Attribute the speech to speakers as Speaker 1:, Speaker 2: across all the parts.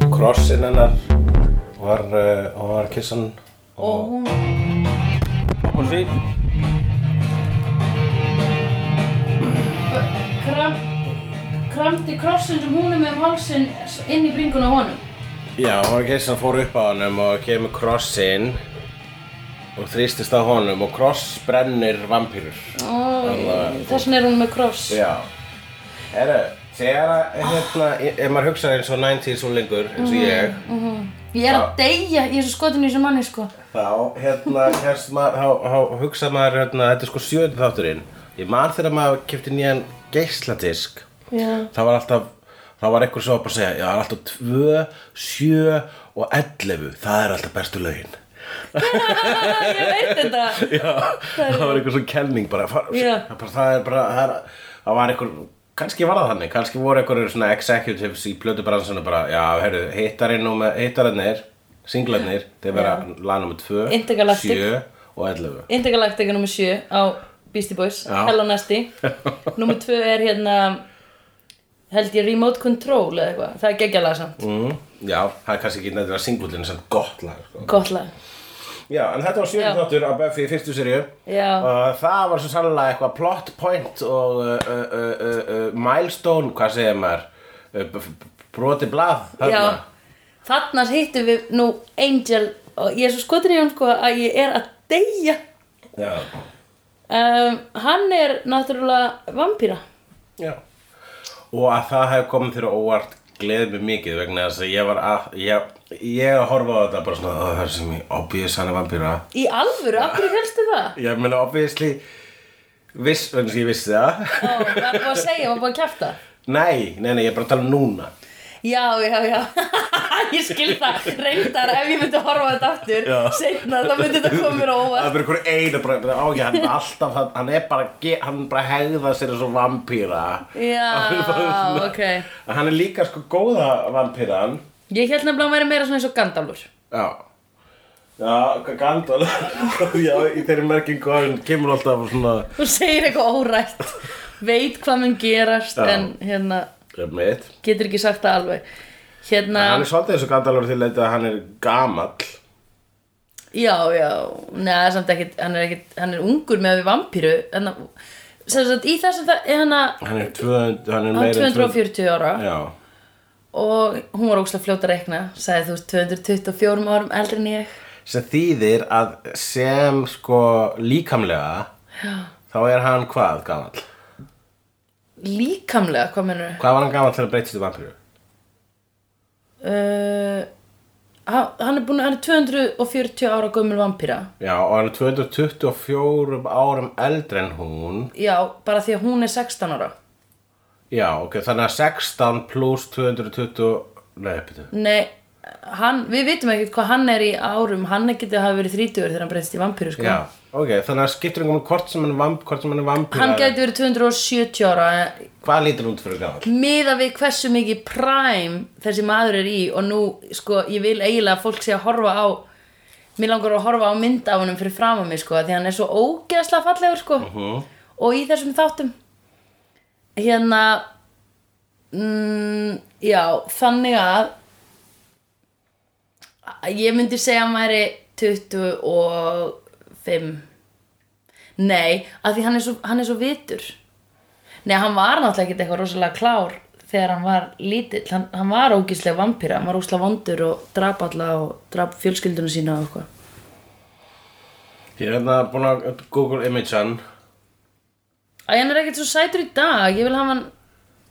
Speaker 1: kyssinn hennar var, uh, hún var kissan
Speaker 2: og hún
Speaker 1: hún því
Speaker 2: kram, kramdi krossin sem hún er með um hálsin inn í bringuna á honum.
Speaker 1: Já, hún var kissan fór upp á honum og kemur krossinn og þrýstist á honum og kross brennir vampýrur
Speaker 2: Og þess vegna er hún með kross.
Speaker 1: Já Herru, þegar að, hérna, ef maður hugsaði eins og 90s og lengur eins og ég
Speaker 2: Ég er að deyja í þessu skotinu í þessu manni sko.
Speaker 1: Þá, hérna, hérst maður, há, há, hugsa maður, hérna, þetta er sko sjöðu þátturinn. Ég man þegar maður kefti nýjan geisladisk.
Speaker 2: Já.
Speaker 1: Það var alltaf, það var einhver svo að bara segja, já, það er alltaf 2, 7 og 11, það er alltaf bestu lögin.
Speaker 2: ég veit þetta.
Speaker 1: Já, það var einhver svo kelning bara, far,
Speaker 2: Já.
Speaker 1: bara, það er bara, það, er, það var einhver, kannski var það þannig, kannski voru einhverjur svona executives í plötubransunum bara, já, herru, hittarinn og með, hittararnir, singlarnir, þeir vera lag nummer 2,
Speaker 2: Intergalactic.
Speaker 1: 7 og 11.
Speaker 2: Intergalactica nr. 7 á Beastie Boys,
Speaker 1: Já.
Speaker 2: Hello Nasty. nr. 2 er hérna, held ég Remote Control eða eitthvað. Það er geggjalega samt.
Speaker 1: Mm, já, það er kannski ekki nefnilega singullin sem gott lag sko.
Speaker 2: Gott lag.
Speaker 1: Já, en þetta var
Speaker 2: Já.
Speaker 1: sjöfum þáttur af Buffy í fyrstu seríu
Speaker 2: Já.
Speaker 1: og það var svo sannlega eitthvað plot point og uh, uh, uh, uh, uh, milestone, hvað segir maður uh, b- b- broti blað þarna.
Speaker 2: Já, þarna hittum við nú Angel og ég er svo skotin í hann sko að ég er að deyja
Speaker 1: Já.
Speaker 2: um, Hann er náttúrulega vampíra
Speaker 1: Já. og að það hef komið fyrir óvart gleðið mér mikið vegna þess að ég var að ég, ég að horfa á þetta bara svona "Ó, það er sem ég obvious hann er vampýra
Speaker 2: Í alvöru, af hverju helstu það?
Speaker 1: ég meina obviously viss, þannig að ég vissi það
Speaker 2: Ó, maður er búið að segja, maður er búið að kjæfta
Speaker 1: nei, nei, nei, ég er bara að tala um núna
Speaker 2: Já, já, já, ég skil það reyndar ef ég myndi að horfa á þetta aftur
Speaker 1: Já.
Speaker 2: seinna, þá myndi þetta koma mér á
Speaker 1: Það
Speaker 2: óvart
Speaker 1: er bara einhver einu bara, á ég, hann er alltaf, hann- hann er bara, ge- hann bara hegða sér eins og vampýra.
Speaker 2: Já, ok
Speaker 1: Hann er líka sko góða vampýran.
Speaker 2: Ég held nefnilega að hann væri meira svona eins og Gandalfur
Speaker 1: Já. Já, G- Gandalf, já, í þeirri merkingu að hann kemur alltaf svona,
Speaker 2: Þú segir eitthvað órætt veit hvað mun gerast
Speaker 1: Já.
Speaker 2: en hérna
Speaker 1: mitt.
Speaker 2: getur ekki sagt það alveg hérna,
Speaker 1: Hann er svolítið eins og Gandalfur til leita að hann er gamall.
Speaker 2: já, já neða, samt ekkit, hann er ekkit hann er ungur með við vampíru en að- sem sagt, í þessum það, hann að
Speaker 1: Hann er 200, hann er
Speaker 2: hann
Speaker 1: meira
Speaker 2: er
Speaker 1: en 200.
Speaker 2: 240 ára
Speaker 1: Já,
Speaker 2: og hún var ógslag fljóta að rekna sagði þú veist 224 árum eldri en ég
Speaker 1: sem þýðir að sem sko líkamlega, já. þá er hann hvað gamall?
Speaker 2: líkamlega, hvað mennur
Speaker 1: Hvað var hann gamall til að breytist í vampýru?
Speaker 2: uh, hann hann er búin hann er 240 ára gömul vampíra
Speaker 1: Já, og hann er 224 árum eldri en hún.
Speaker 2: já, bara því að hún er 16 ára
Speaker 1: Já, ok, þannig að 16 pluss 220... Nei, betur.
Speaker 2: Nei, hann, við vitum ekkert hvað hann er í árum Hann er getið að hafa verið 30 þegar hann breytist í vampíru sko.
Speaker 1: Já, ok, þannig að skiptir um hvort sem hann er vamp, hvort sem hann er vampýra.
Speaker 2: Hann gæti verið 270 ára eh,
Speaker 1: Hvað lítur hún út fyrir gamall?
Speaker 2: Miða við hversu mikið prime þessi maður er í Og nú, sko, ég vil eiginlega að fólk sé að horfa á Mér langar að horfa á mynd af honum fyrir fram á mig sko, Því hann er svo ógeðslega fallegur sko. Og í þessum þáttum Hérna mm, Já, þannig að Ég myndi segja að maður er 25 Nei, af því hann er svo, hann er svo vitur Nei, hann var náttúrulega ekkert eitthvað rosalega klár þegar hann var lítill hann, hann var ógíslega vampíra, hann var ógíslega vondur og drap alla og drap fjölskyldunum sína og eitthvað
Speaker 1: Ég er hérna búin að Google image hann.
Speaker 2: Æ, hann er ekkert svo sætur í dag, ég vil hafa hann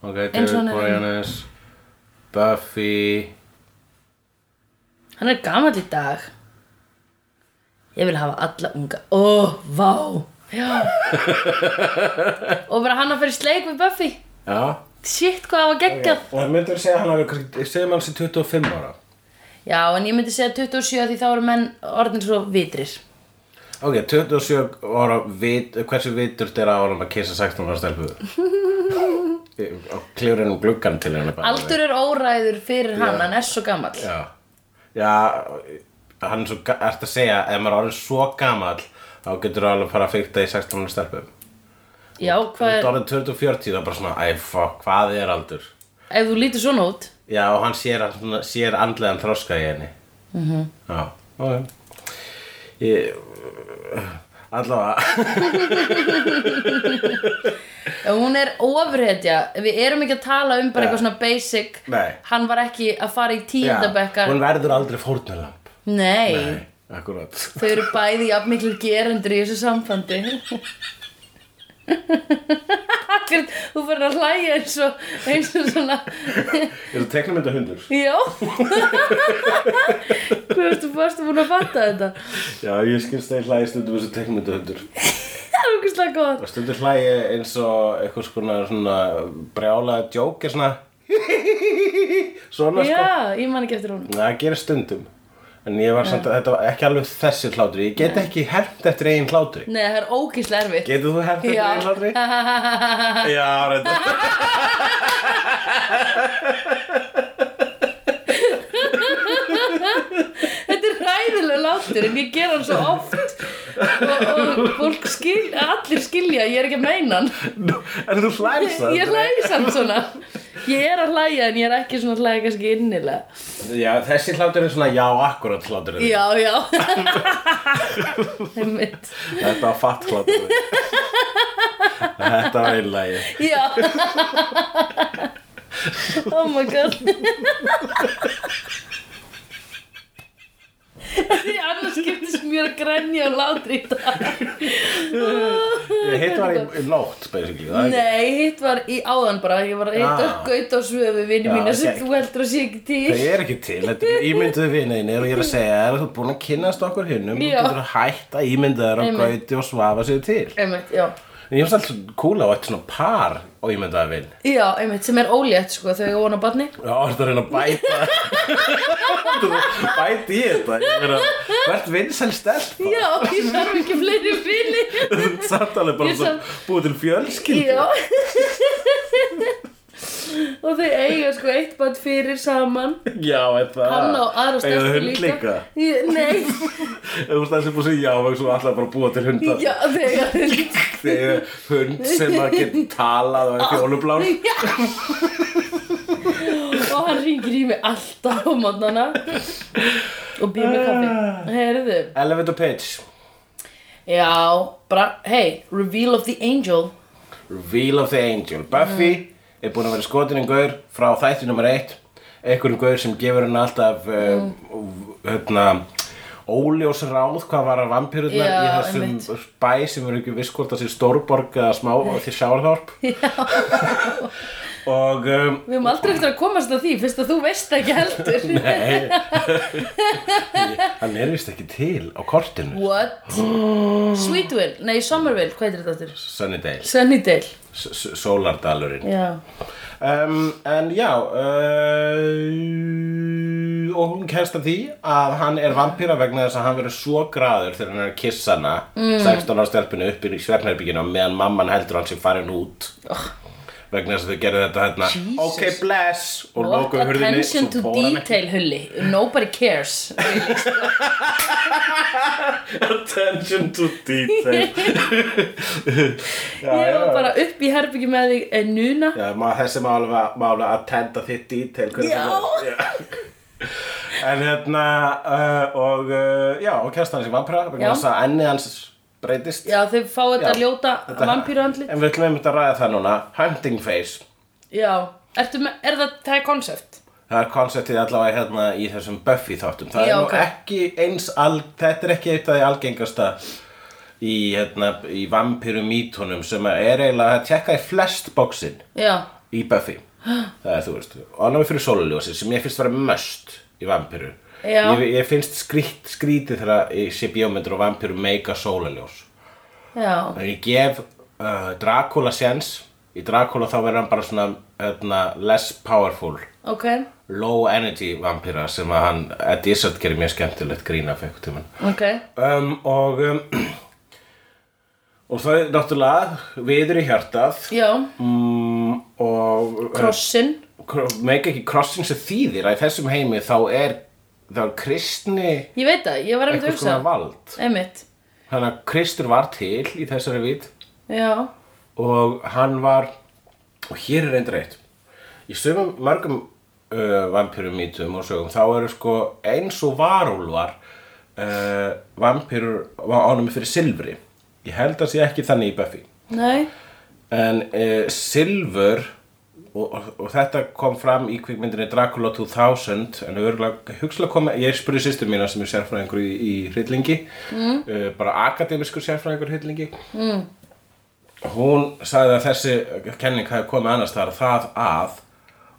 Speaker 1: Ok,
Speaker 2: Eins og hann
Speaker 1: David
Speaker 2: er- hérna.
Speaker 1: Boreanaz, Buffy...
Speaker 2: hann er gamall í dag Ég vil hafa alla unga Ó, vá Já Og bara hann að fyrir sleik við Buffy
Speaker 1: Já.
Speaker 2: Shit, hvað það var geggjað
Speaker 1: Og það myndur segja hann að við, segjum hann sem 25 ára.
Speaker 2: Já, en ég myndi segja 27 því þá eru menn orðin svo vitrir.
Speaker 1: Ok, 27 ára, vit, hversu vitur er að árum að kissa 16 ára stelpu? Og klifur henni um gluggan til henni bara.
Speaker 2: Aldur er óræður fyrir hann, hann er svo gamall.
Speaker 1: Já, já hann er svo, ga- ertu að segja, ef maður er orðin svo gamall, þá getur þú alveg að fara að fyrta í 16 ára stelpu.
Speaker 2: Já,
Speaker 1: Þú
Speaker 2: hvað
Speaker 1: ert
Speaker 2: er,
Speaker 1: orðin 20 og 40, það er bara svona, æ, fuck, hvað er aldur?
Speaker 2: ef þú lítur svona út,
Speaker 1: já, og hann sér, hann svona, sér andlegan þroska í henni
Speaker 2: Mhm.
Speaker 1: mm -hmm. já, ok ég allavega,
Speaker 2: Já, Hún er ofretja, við erum ekki að tala um bara
Speaker 1: Já.
Speaker 2: eitthvað svona basic
Speaker 1: Nei.
Speaker 2: Hann var ekki að fara í
Speaker 1: já,
Speaker 2: tíundabekkar
Speaker 1: hún verður aldrei fórnulamb
Speaker 2: Nei.
Speaker 1: nei, akkurat
Speaker 2: þau eru bæði jafn miklu gerendur í þessu sambandi Akkur, þú fyrir að hlæja eins og, eins og svona,
Speaker 1: Þetta teknamynda hundur
Speaker 2: já Hvað veistu, varstu búin að fatta þetta?
Speaker 1: Já, ég skilst að ég hlæði stundum eins og teknamynda hundur
Speaker 2: Það er okkurslega gott
Speaker 1: Og stundum hlæði ég eins og eitthvað skona svona brjálaða djók er svona Svona sko
Speaker 2: Já, ég man ekki eftir honum
Speaker 1: Það gerir stundum En ég var samt að þetta var ekki alveg þessi hlátri Ég get ekki hermt eftir eigin hlátri
Speaker 2: Nei, það er ókíslega erfitt
Speaker 1: Getur þú hermt eftir
Speaker 2: Já.
Speaker 1: eigin hlátri? Já, reynda
Speaker 2: Þetta er ræðilega látur en ég ger hann svo oft og, og fólk skil, allir skilja ég er ekki að meina hann
Speaker 1: En þú hlæðir það?
Speaker 2: Ég hlæði samt svona Ég er að hlæja en ég er ekki svona að hlæja kannski innilega
Speaker 1: Já, þessi hlátur er svona já, akkurat hlátur
Speaker 2: Já, já Einmitt.
Speaker 1: Þetta var fatt hlátur Þetta var einlægi
Speaker 2: Já Oh my god Því annars skiptist mér að grenja og látri í dag
Speaker 1: Hitt var í, í nótt, basically það er ekki-
Speaker 2: Nei, hitt var í áðan bara Ég var að hitta
Speaker 1: Ah.
Speaker 2: upp gaut og svöðu við vinnu
Speaker 1: Já,
Speaker 2: mína sem
Speaker 1: ok.
Speaker 2: þú heldur að sé ekki til
Speaker 1: Það er ekki til, þetta er ímynduðu vinninir og ég er að segja, er þú búin að kynnast okkur hinnum og
Speaker 2: Já.
Speaker 1: getur að hætta ímyndaður á
Speaker 2: Einmitt.
Speaker 1: gauti og svafa sig til
Speaker 2: Einmitt, já
Speaker 1: En ég finnst alltaf svo kúla á eitt svona par og ímyndaða vinn
Speaker 2: Já, einmitt, sem er ólétt sko þegar ég vona barni
Speaker 1: Já, ertu að reyna að bæta Bæti í þetta Ég meina, Hvert vinsæl stelpa
Speaker 2: Já, ég þarf ekki fleiri vini
Speaker 1: Samt alveg bara
Speaker 2: Ég
Speaker 1: svo
Speaker 2: samt-
Speaker 1: búið til fjölskyld
Speaker 2: Já Og þau eiga sko eitt bætt fyrir saman
Speaker 1: Já, þetta
Speaker 2: Hann á aðra
Speaker 1: Eiga þau
Speaker 2: stelpu
Speaker 1: hund
Speaker 2: líka
Speaker 1: líka
Speaker 2: Ég- Nei,
Speaker 1: Ef þú stæðir sem búið að segja já, þú ætlaði bara að búa til hundar
Speaker 2: já, þau eiga hund
Speaker 1: Þegar hund sem að geta talað og er fjólublár
Speaker 2: Já. og hann ringir í mig alltaf á mótnana og býr mig
Speaker 1: Ah.
Speaker 2: kaffi heyrðu,
Speaker 1: Elevator pitch
Speaker 2: já bara, hey, reveal of the angel
Speaker 1: Reveal of the Angel Buffy er búin að vera skotin um gaur frá þætti nummer eitt einhverjum gaur sem gefur henni alltaf um, hérna óljós ráð hvað var að vampirurnar
Speaker 2: Já,
Speaker 1: í þessum
Speaker 2: einmitt.
Speaker 1: bæ sem eru ekki viss hvort það sé stórborg eða smá því sjálfhálp og um,
Speaker 2: við höfum aldrei eftir að komast að því fyrst að þú veist ekki heldur
Speaker 1: nei hann er vist ekki til á kortinu
Speaker 2: what? Sweetville, nei Somerville, hvað heitir þetta aftur?
Speaker 1: Sunnydale,
Speaker 2: Sunnydale,
Speaker 1: S S Sólardalurinn
Speaker 2: já
Speaker 1: um, En já uh, Og hún kæst að því að hann er vampíra vegna þess að hann verður svo graður þegar hann er að kissa hana
Speaker 2: Mm.
Speaker 1: 16 ára stelpinu upp í svefnherbygginu meðan mamman heldur hann sem farin út vegna þess að þau gerðu þetta hérna
Speaker 2: Jesus.
Speaker 1: Ok, bless og
Speaker 2: What
Speaker 1: lokuðu hurðinni
Speaker 2: attention to
Speaker 1: svo fór hann ekki
Speaker 2: detail, Hulli Nobody cares
Speaker 1: Attention to detail já,
Speaker 2: Ég
Speaker 1: já,
Speaker 2: var bara upp í herbyggi með þig eh, núna
Speaker 1: Já, maður, þessi má alveg, má alveg að tenda þitt detail hvernig
Speaker 2: Já.
Speaker 1: það er. Já En hérna uh, og uh, já, og kæst hans í vampira
Speaker 2: Já.
Speaker 1: vegna þess að enni hans breytist
Speaker 2: Já, þau fá þetta
Speaker 1: Já,
Speaker 2: ljóta
Speaker 1: þetta-
Speaker 2: vampíruandli
Speaker 1: En við ætlum einmitt að ræða það núna Hunting face
Speaker 2: Já, Ertu með, er það, það er konsept?
Speaker 1: Það er konseptið allavega hérna í þessum Buffy þáttum Það
Speaker 2: Já,
Speaker 1: er nú
Speaker 2: ok.
Speaker 1: ekki eins al, Þetta er ekki eitt af því algengasta í, hérna, í vampirum mítunum sem er eiginlega að tekka í flest bóksinn
Speaker 2: Já,
Speaker 1: í Buffy það er þú veist, ofnæmi fyrir sóluljósi sem ég finnst vera möst í vampiru
Speaker 2: Já.
Speaker 1: ég, ég finnst skrít, skrítið þegar ég sé bíómyndur og vampiru meika sóluljós
Speaker 2: já,
Speaker 1: en ég gef uh, Dracula séns í Dracula þá verður hann bara svona öðna, less powerful
Speaker 2: ok,
Speaker 1: low energy vampira sem að hann Eddie Izzard gerir mjög skemmtilegt grína fyrir eitthvað tímann
Speaker 2: ok
Speaker 1: um, og um, og það er náttúrulega viður í hjartað
Speaker 2: Já,
Speaker 1: mm, og
Speaker 2: krossin
Speaker 1: meik ekki krossin sem þýðir að í þessum heimi þá er þá er kristni
Speaker 2: Ég veit það, ég var einmitt að
Speaker 1: eitthvað svona
Speaker 2: hugsa
Speaker 1: vald
Speaker 2: Einmitt,
Speaker 1: þannig að kristur var til í þessari vít
Speaker 2: já,
Speaker 1: og hann var og hér er reyndar eitt í sömum mörgum uh, vampýrum mítum og sögum þá eru sko eins og varúlvar uh, vampýrur ánum fyrir silfri ég held að sé ekki þannig í Buffy
Speaker 2: Nei,
Speaker 1: en uh, silfur og, og, og þetta kom fram í kvikmyndinni Dracula 2000 en örgulega hugslega kom ég spurði sýstur mína sem er sérfræðingur í, í hryllingi mm. bara akademiskur sérfræðingur í hryllingi mm. hún sagði að þessi kenning hafi komið annars þar það að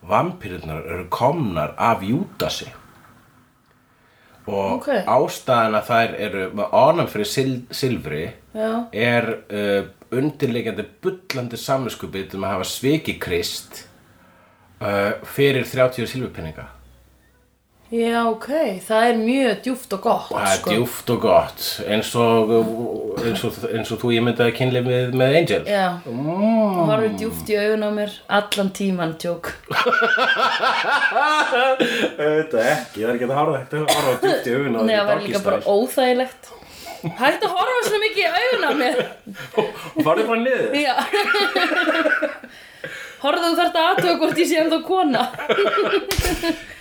Speaker 1: vampirurnar eru komnar af Júdasi og
Speaker 2: Ok.
Speaker 1: ástæðan að þær eru með ánum fyrir sil, silfri
Speaker 2: Já.
Speaker 1: er uh, undirleikandi bullandi samvinskupið um að hafa sviki krist uh, fyrir 30 silfurpenninga
Speaker 2: já ok, það er mjög djúft og gott
Speaker 1: það er
Speaker 2: sko.
Speaker 1: djúft og gott eins og, eins og, eins og þú ímyndaði kynlið með, með Angel
Speaker 2: Já, mm. horfir djúft í augun á mér allan tíman tjók
Speaker 1: auðvitað ekki, ég var ekki að horfa þetta horfa djúft í augun
Speaker 2: Nei, það var líka bara óþægilegt Hægt að horfa svona mikið í augun á mér
Speaker 1: og farið bara niður
Speaker 2: Já Horfðu þú þarft að aðtöða hvort ég sé um þá kona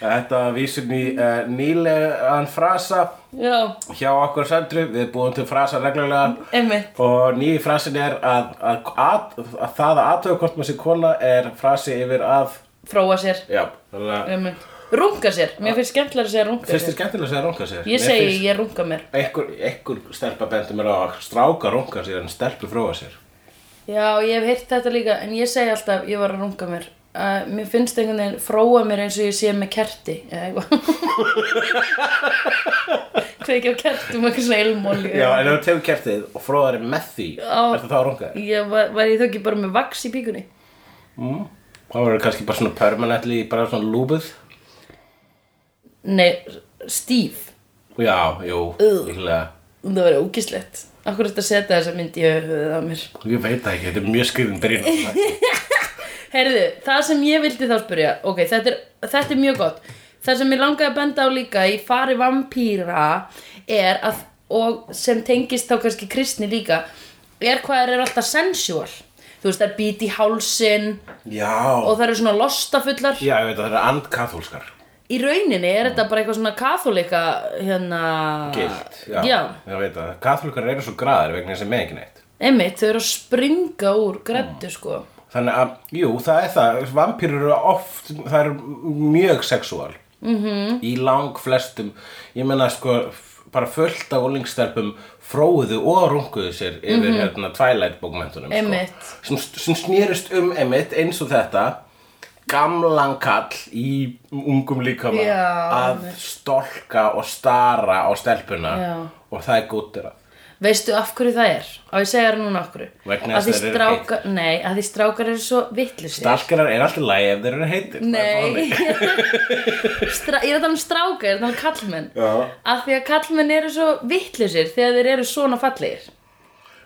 Speaker 1: þetta vísum í uh, nýlegan frasa
Speaker 2: Já,
Speaker 1: hjá okkur sendru, við búum til frasa reglulega
Speaker 2: einmitt
Speaker 1: Og nýji frasin er að, að, að, að það að aðtöðu hvort maður sé kona er frasi yfir að,
Speaker 2: Fróa sér,
Speaker 1: já, þannig að,
Speaker 2: einmitt Runga sér, mér finnst skemmtilega að segja runga
Speaker 1: fyrst
Speaker 2: sér
Speaker 1: er skemmtilega að segja runga sér.
Speaker 2: Ég segi ég runga mér
Speaker 1: Ekkur, ekkur stelpa bendur mér á að stráka runga sér en stelpu fróa sér.
Speaker 2: Já, ég hef heyrt þetta líka en ég segi alltaf, ég var að runga mér uh, Mér finnst einhvern veginn fróa mér eins og ég sé með kerti eða eitthvað Kveikja á kertum eitthvað svona ilmóli
Speaker 1: Já, en ef þú tegur kertið og fróðar er með því,
Speaker 2: Já.
Speaker 1: ertu þá að runga þér?
Speaker 2: Ég var, var ég þá ekki bara með vaks í píkunni
Speaker 1: Þá verður kannski bara svona permanently, bara svona lúbuð.
Speaker 2: Nei, stíf
Speaker 1: Já, jú,
Speaker 2: Ugh.
Speaker 1: líklega.
Speaker 2: Það var ógislegt Akkur þetta setja þessa mynd í höfuðið á mér
Speaker 1: Ég veit það ekki, þetta er mjög skrifin byrjun.
Speaker 2: Heyrðu, það sem ég vildi þá spyrja Ok, þetta er, þetta er mjög gott Það sem ég langaði að benda á líka í fari vampýra er að og sem tengist þá kannski kristni líka er hvað þær eru alltaf sensual þú veist, þær býti í hálsin
Speaker 1: já,
Speaker 2: og þær eru svona lostafullar
Speaker 1: já, ég veit að það er andkathólskar.
Speaker 2: í rauninni er þetta bara eitthvað svona katholika hérna
Speaker 1: Gild, Ah, já,
Speaker 2: já.
Speaker 1: ég veit að katholikar eru svo graðir vegna þessi með ekki neitt.
Speaker 2: einmitt, þau eru að springa úr greftu
Speaker 1: Mm.
Speaker 2: sko
Speaker 1: Þannig að, jú, það er það, vampýrur eru oft, það eru mjög sexual -hmm.
Speaker 2: Mhm.
Speaker 1: í lang flestum, ég meina sko, f- bara fullt af úlingstelpum fróðu og runguðu sér yfir hérna Twilight bókmentunum
Speaker 2: Mhm. Einmitt.
Speaker 1: sko, sem, sem snýrist um emitt eins og þetta, gamlan kall í ungum líkama
Speaker 2: Já,
Speaker 1: að stolka og stara á stelpuna
Speaker 2: Já.
Speaker 1: og það er góttirað.
Speaker 2: Veistu af hverju það er? Á ég segja þér núna af hverju
Speaker 1: Vegna
Speaker 2: Að því
Speaker 1: þess að þeir eru
Speaker 2: strákar, nei, að því strákar eru svo vittlusir
Speaker 1: Stalkarar er alltaf lægi ef þeir eru heitir. það er
Speaker 2: Nei
Speaker 1: málið.
Speaker 2: Stra Ég er að tala um stráka, ég er að tala um kallmenn
Speaker 1: Já.
Speaker 2: Af því að kallmenn eru svo vittlusir þegar þeir eru svona fallegir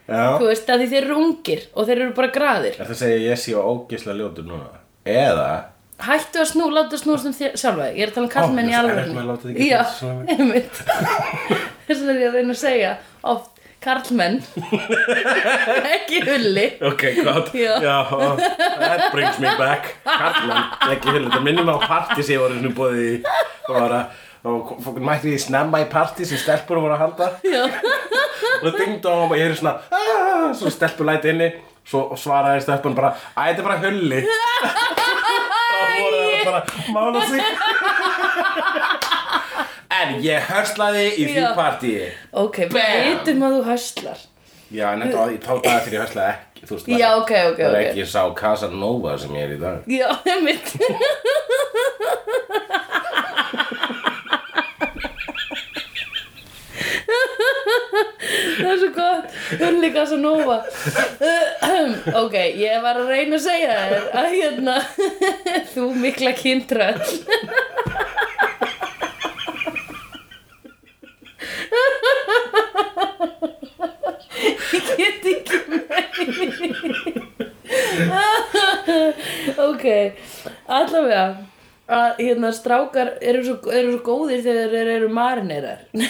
Speaker 1: Já.
Speaker 2: Þú veist, að því þeir eru ungir og þeir eru bara graðir
Speaker 1: Er það að segja ég sé á ógislega ljótur núna? Eða
Speaker 2: Hættu að snú, láta snúast um þér sjálfa þig. Ég er að tala um kallmenn í
Speaker 1: Ó, ég er svo
Speaker 2: alveg
Speaker 1: erfitt með að láta þig gera
Speaker 2: Já,
Speaker 1: þetta sjálfa mig.
Speaker 2: einmitt Þess vegna er ég að reyna að segja oft karlmenn Ekki hulli
Speaker 1: Ok, gott
Speaker 2: Já.
Speaker 1: oh, That brings me back Karlan, ekki hullu Það minnum á partí sem ég var einu bóðið í Það var að og fólk mætti því snemma í partí sem stelpur voru að halda
Speaker 2: Já
Speaker 1: og dingd á og ég er svona "Ah", svo stelpur læti inni svo svaraði stelpun bara Æ, þetta er bara hulli og voru það bara mála sig en ég hörslaði í því
Speaker 2: Já.
Speaker 1: partíi
Speaker 2: Ok, við
Speaker 1: Bam!
Speaker 2: vitum að þú höstlar
Speaker 1: Já, en þetta var í þá daga þegar ég höslaði ekki, þú veist
Speaker 2: Já, ok, ok,
Speaker 1: Það er
Speaker 2: ok.
Speaker 1: ekki sá Casanova sem ég er í dag
Speaker 2: Já, einmitt Það er svo gott Hulli Casanova Ok, ég var að reyna að segja þér að hérna þú mikla kindröll Ég get ekki ok, allavega að hérna strákar eru svo, eru svo góðir þegar þeir eru marinerar nei,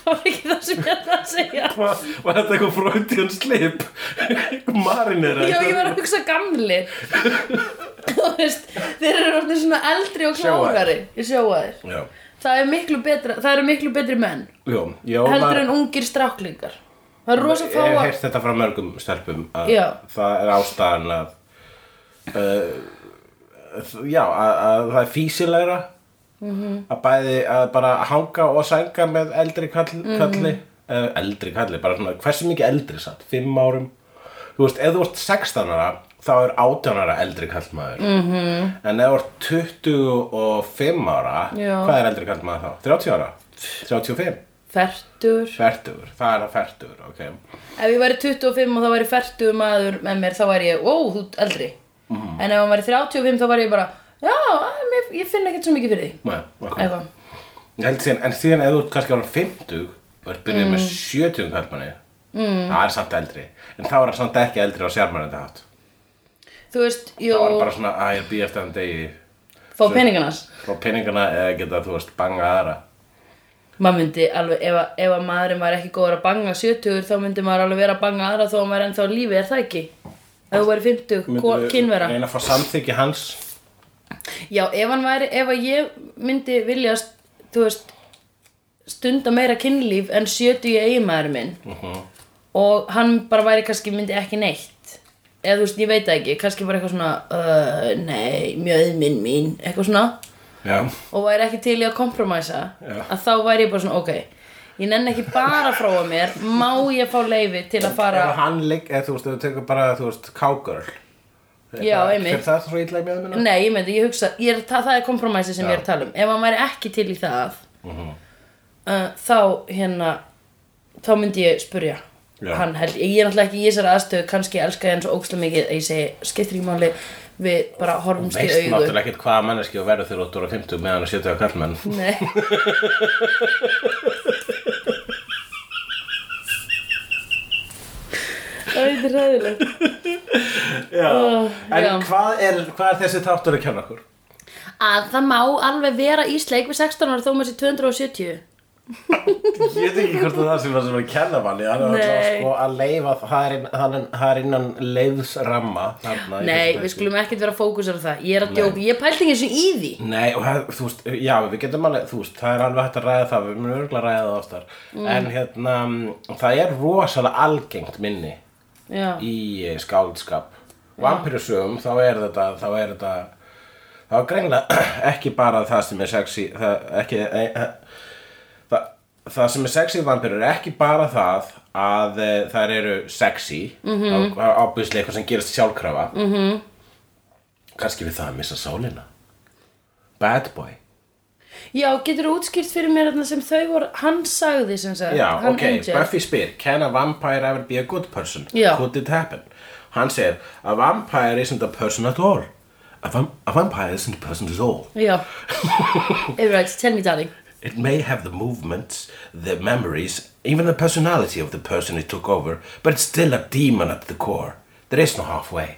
Speaker 2: það var ekki það sem ég ætla að segja
Speaker 1: Var, var þetta eitthvað fröndjón slip? Eitthvað marinera?
Speaker 2: já, ég var að hugsa gamli þú veist, þeir eru orðnir svona eldri og
Speaker 1: Sjóaðir.
Speaker 2: klárari Ég sjóa þér
Speaker 1: Já,
Speaker 2: Það er miklu betra, það eru miklu betri menn
Speaker 1: já, já
Speaker 2: heldur en ungir stráklingar Það eru rosa
Speaker 1: Ég hef
Speaker 2: fáa
Speaker 1: heyrt þetta frá mörgum stelpum að
Speaker 2: Já.
Speaker 1: það er ástæðan að uh, já, að, að það er físilegra
Speaker 2: Mhm.
Speaker 1: -hmm. að bæði að bara hanga og sænga með eldri kall,
Speaker 2: Mhm.
Speaker 1: kalli uh, eldri kalli, bara svona hversu mikið eldri satt, fimm árum þú veist, ef þú ert 16 ára þá er 18 ára eldri kallmaður mm -hmm.
Speaker 2: Mhm.
Speaker 1: en ef þú ert 25 ára
Speaker 2: Já.
Speaker 1: hvað er eldri kallmaður þá? 30 ára? 35?
Speaker 2: Fertur
Speaker 1: 40, það er að 40, ok
Speaker 2: Ef ég væri 25 og það væri 40 maður með mér þá væri ég, ó, þú ert eldri
Speaker 1: Mhm.
Speaker 2: En ef hann væri 35 þá væri ég bara Já, að, mér, ég finn ekkert svo mikið fyrir því
Speaker 1: Nei, ok.
Speaker 2: Eitthvað
Speaker 1: Ég held síðan, en síðan ef þú ert kannski ára 50 og ert byrjuð
Speaker 2: Mm.
Speaker 1: með 70 kallmanni mm. það er samt eldri en þá er það samt ekki eldri á sérmærandi hátt
Speaker 2: Þú veist, jú,
Speaker 1: það var bara svona að ég er býð eftir þann degi
Speaker 2: fá peningarnas
Speaker 1: frá peningana eða geta þú veist banga aðra
Speaker 2: Maður myndi alveg, ef, að- ef að maðurinn var ekki góður að banga 70 þá myndi maður alveg vera að banga aðra þó að maður er ennþá á lífi, er það ekki? Ef þú væri 50, ko-
Speaker 1: Myndirðu
Speaker 2: kynvera
Speaker 1: reyna að fá samþykki hans
Speaker 2: Já, ef hann væri, ef að ég myndi vilja, þú veist, stunda meira kynlíf en 70 eiginmaður minn og hann bara væri kannski myndi ekki neitt eða þú veist, ég veit það ekki, kannski bara eitthvað svona uh, nei, mjöð minn mín eitthvað svona
Speaker 1: já,
Speaker 2: og væri ekki til í að kompromæsa
Speaker 1: Já.
Speaker 2: að þá væri ég bara svona, ok ég nenni ekki bara að fróa mér má ég fá leifi til að fara
Speaker 1: ef hann ligg, eða þú veist, ef þú tekur bara þú veist, cowgirl
Speaker 2: Já,
Speaker 1: Það-
Speaker 2: einmitt.
Speaker 1: fer það svo illa í meðmina?
Speaker 2: nei, ég myndi, ég hugsa, ég er, það, það er kompromæsi sem ég er að tala um ef hann væri ekki til í það
Speaker 1: Mhm.
Speaker 2: uh, þá hérna þá myndi ég spurja
Speaker 1: Já.
Speaker 2: hann held, ég er náttúrulega ekki í þessari aðstöðu kannski elska ég hann svo ókslega mikið að ég segi, skiptir ekki máli við bara horfumst í
Speaker 1: veist
Speaker 2: augu
Speaker 1: náttúrulega ekkert hvaða manneski og verður þegar þú ert ára 50 meðan að 70 kallmann
Speaker 2: Nei Það er ræðilegt
Speaker 1: já, en
Speaker 2: já.
Speaker 1: Hvað, er, hvað er þessi þáttur að kenna okkur?
Speaker 2: Að það má alveg vera ísleik við 16 ára þó maður sé 270
Speaker 1: Ég veit ekki hvort það er það sem var sem var að kenna manni Það er
Speaker 2: Nei.
Speaker 1: alltaf sko að leifa það er, inn- það er, það er innan leiðsramma þarna, í
Speaker 2: Nei,
Speaker 1: þessu
Speaker 2: við
Speaker 1: þætti.
Speaker 2: skulum ekkert vera að fókusar á það Ég er að djóka, ég pælt ekki eins og í því
Speaker 1: Nei, og það- þú veist, já, við getum alveg, þú veist, það er alveg hægt að ræða það, við munum örgulega ræða það ástar mm. En hérna, mm, það er rosalega algengt minni
Speaker 2: Já,
Speaker 1: í eh, skáldskap Vampirusögum, þá er þetta, þá er þetta Þá er greinlega ekki bara það sem er sexy, það, ekki, e, e, það, það sem er sexy vampirur er ekki bara það að e, þær eru sexy mm -hmm. Það er ábyggislega eitthvað sem gerast sjálfkrafa mm -hmm. Kannski við það að missa sálina Bad boy
Speaker 2: Já getur þú útskýrt fyrir mér þarna sem þau voru Hann sagði sem sagt
Speaker 1: Já,
Speaker 2: hann
Speaker 1: ok,
Speaker 2: Angel.
Speaker 1: Buffy spyr Can a vampire ever be a good person?
Speaker 2: Já.
Speaker 1: Could it happen? Hann segir A vampire isn't a person at all A, vam a vampire isn't a person at all
Speaker 2: Já Everett, tell me darling
Speaker 1: It may have the movements, the memories Even the personality of the person it took over But it's still a demon at the core There is no halfway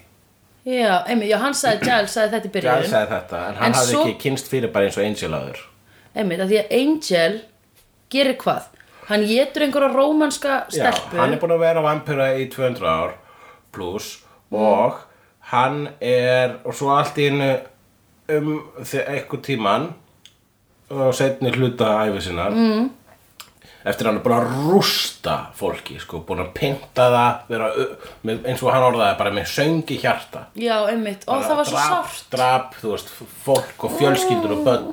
Speaker 2: Já, einmitt, já, hann sagði, Giles sagði þetta í byrjun
Speaker 1: Giles sagði þetta En hann
Speaker 2: En
Speaker 1: hafði
Speaker 2: svo-
Speaker 1: ekki kynst fyrir bara eins og Angel áður
Speaker 2: einmitt, að því að Angel gerir hvað? Hann getur einhverja rómanska stelpu
Speaker 1: Já, hann er búin að vera vampíra í 200 ár pluss og hann er og svo allt í einu um þe- einhvern tíman og setni hluta æfi sinnar mm. eftir að hann er búin að rústa fólki sko, búin að pynta það vera, ö- með, eins og hann orðaði bara með söngi hjarta
Speaker 2: Já, einmitt, og það var svo
Speaker 1: drap,
Speaker 2: sárt
Speaker 1: drap, þú veist, fólk og fjölskyldur og börn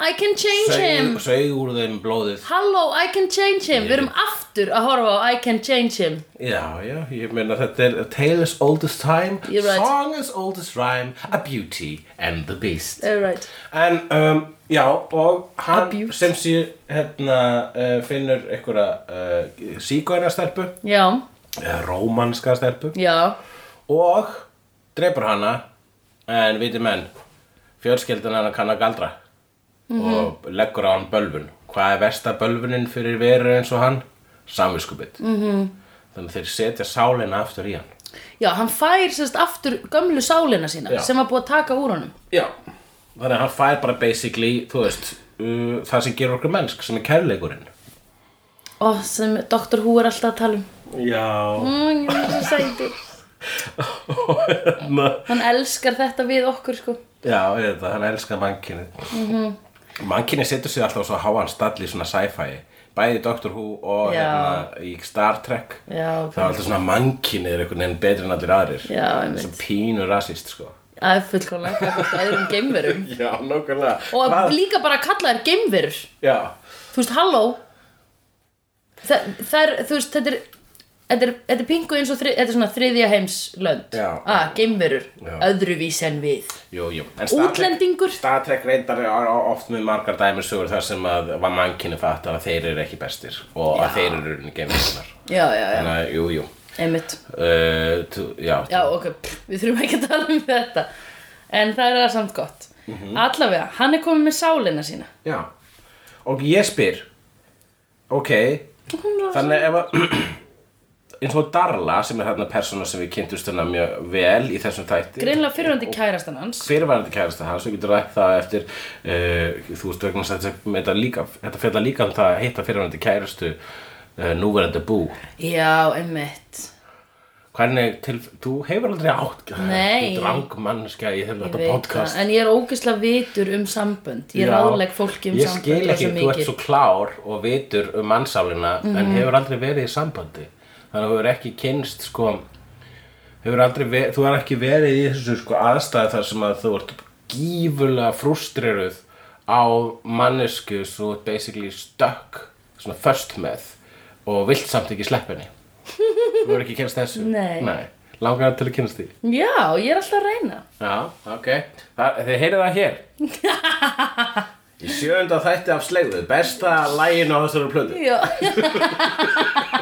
Speaker 2: I can change him
Speaker 1: sög, sög úr þeim blóðið
Speaker 2: Halló, I can change him Við erum aftur að horfa á I can change him
Speaker 1: Já, já, ég meina þetta er A Tale as Old as Time,
Speaker 2: You're right.
Speaker 1: Song as Old as Rhyme, A Beauty and the Beast.
Speaker 2: Alright
Speaker 1: En, um, já, og hann
Speaker 2: Abuse.
Speaker 1: sem sé, hérna, uh, finnur einhverja uh, síkvæðarstelpu,
Speaker 2: Já,
Speaker 1: eða rómanska stelpu,
Speaker 2: já,
Speaker 1: og drepur hana, en viti menn, fjölskeldan hana kann að galdra
Speaker 2: Mhm.
Speaker 1: og leggur á hann bölvun. Hvað er versta bölvunin fyrir veru eins og hann? Samviskubitt. Mm -hmm.
Speaker 2: Mhm.
Speaker 1: Þannig að þeir setja sálina aftur í hann.
Speaker 2: já, hann fær sérst aftur gömlu sálina sína
Speaker 1: Já.
Speaker 2: sem var búið að taka úr honum
Speaker 1: Já, þannig að hann fær bara basically, þú veist, uh, það sem gerur okkur mennsk, sem er kærleikurinn.
Speaker 2: Ó, sem Dr. Who er alltaf að tala um
Speaker 1: Já.
Speaker 2: Ó, ég er svo sæti
Speaker 1: og hérna
Speaker 2: Hann elskar þetta við okkur sko
Speaker 1: Já, ég veit það, hann elskar mannkynið mm
Speaker 2: Mhm.
Speaker 1: -hmm. Mannkynið setur sig alltaf á svo háan stall í svona sci-fi Bæði í Doctor Who og
Speaker 2: Já.
Speaker 1: hérna í Star Trek
Speaker 2: Já, ok.
Speaker 1: Það er alltaf svona mannkynið er einhvern veginn betri en allir aðrir
Speaker 2: Já, einmitt.
Speaker 1: Svo pínur rasist, sko
Speaker 2: Það er fullkomlega gagvart öðrum geimverum
Speaker 1: Já, nákvæmlega
Speaker 2: Og
Speaker 1: Hvað-
Speaker 2: líka bara að kalla þær geimverur
Speaker 1: Já,
Speaker 2: Þú veist, halló Þa, Það er, þú veist, þetta er Þetta er, þetta er pingu eins og þri, þetta er svona þriðja heimslönd
Speaker 1: Já.
Speaker 2: ah, Geimverur,
Speaker 1: Já.
Speaker 2: öðruvísi en við
Speaker 1: jú, jú En
Speaker 2: Útlendingur.
Speaker 1: Trek, Star Trek reyndar er oft með margar dæmisögur þar sem að var mannkynið fattar að þeir eru ekki bestir Og að
Speaker 2: Já.
Speaker 1: þeir eru unni geimverðunar
Speaker 2: Já, já, já,
Speaker 1: Þannig að, jú, jú
Speaker 2: einmitt
Speaker 1: Uh, tú, já,
Speaker 2: Já, ok, pff, við þurfum ekki að tala um þetta En það er það samt gott
Speaker 1: Mhm.
Speaker 2: Allavega, hann er komið með sálina sína
Speaker 1: Já, og ég spyr Ok, þannig ef að eins og Darla sem er hérna persóna sem við kynntumst hérna mjög vel í þessum tætti
Speaker 2: Greinlega fyrirhandi kærastan hans
Speaker 1: fyrirværandi kærasta hans, við getur rætt það eftir uh, þú veist vegna þess að þetta- þetta, líka, þetta fjallar líka um það að hitta fyrirværandi kærastu uh, núverandi bú
Speaker 2: Já, einmitt
Speaker 1: hvernig, til, þú hefur aldrei átt
Speaker 2: Nei.
Speaker 1: þú drangmannskja í þeim
Speaker 2: Ég
Speaker 1: þetta
Speaker 2: veit
Speaker 1: podcast
Speaker 2: það, En ég er ógeðslega vitur um sambönd Ég
Speaker 1: Já,
Speaker 2: ráðleg fólki um
Speaker 1: ég
Speaker 2: sambönd
Speaker 1: skil ekki,
Speaker 2: rosa
Speaker 1: þú ert
Speaker 2: mikið. Mhm.
Speaker 1: svo klár og vitur um mannsálina en hefur aldrei verið í sambandi þannig að þú hefur ekki kynst sko, hefur aldrei verið, þú hefur ekki verið í þessu sko, aðstæði þar sem að þú ert gífurlega frústreruð á mannesku svo ert basically stuck svona först með og vilt samt ekki sleppinni þú hefur ekki kynst þessu
Speaker 2: Nei.
Speaker 1: langar til að kynst því
Speaker 2: Já, ég er alltaf að reyna
Speaker 1: Já, ok. Það, þið heyrið það hér. Í sjönda þætti af slegðu, besta lægin á þessari plötu.
Speaker 2: Já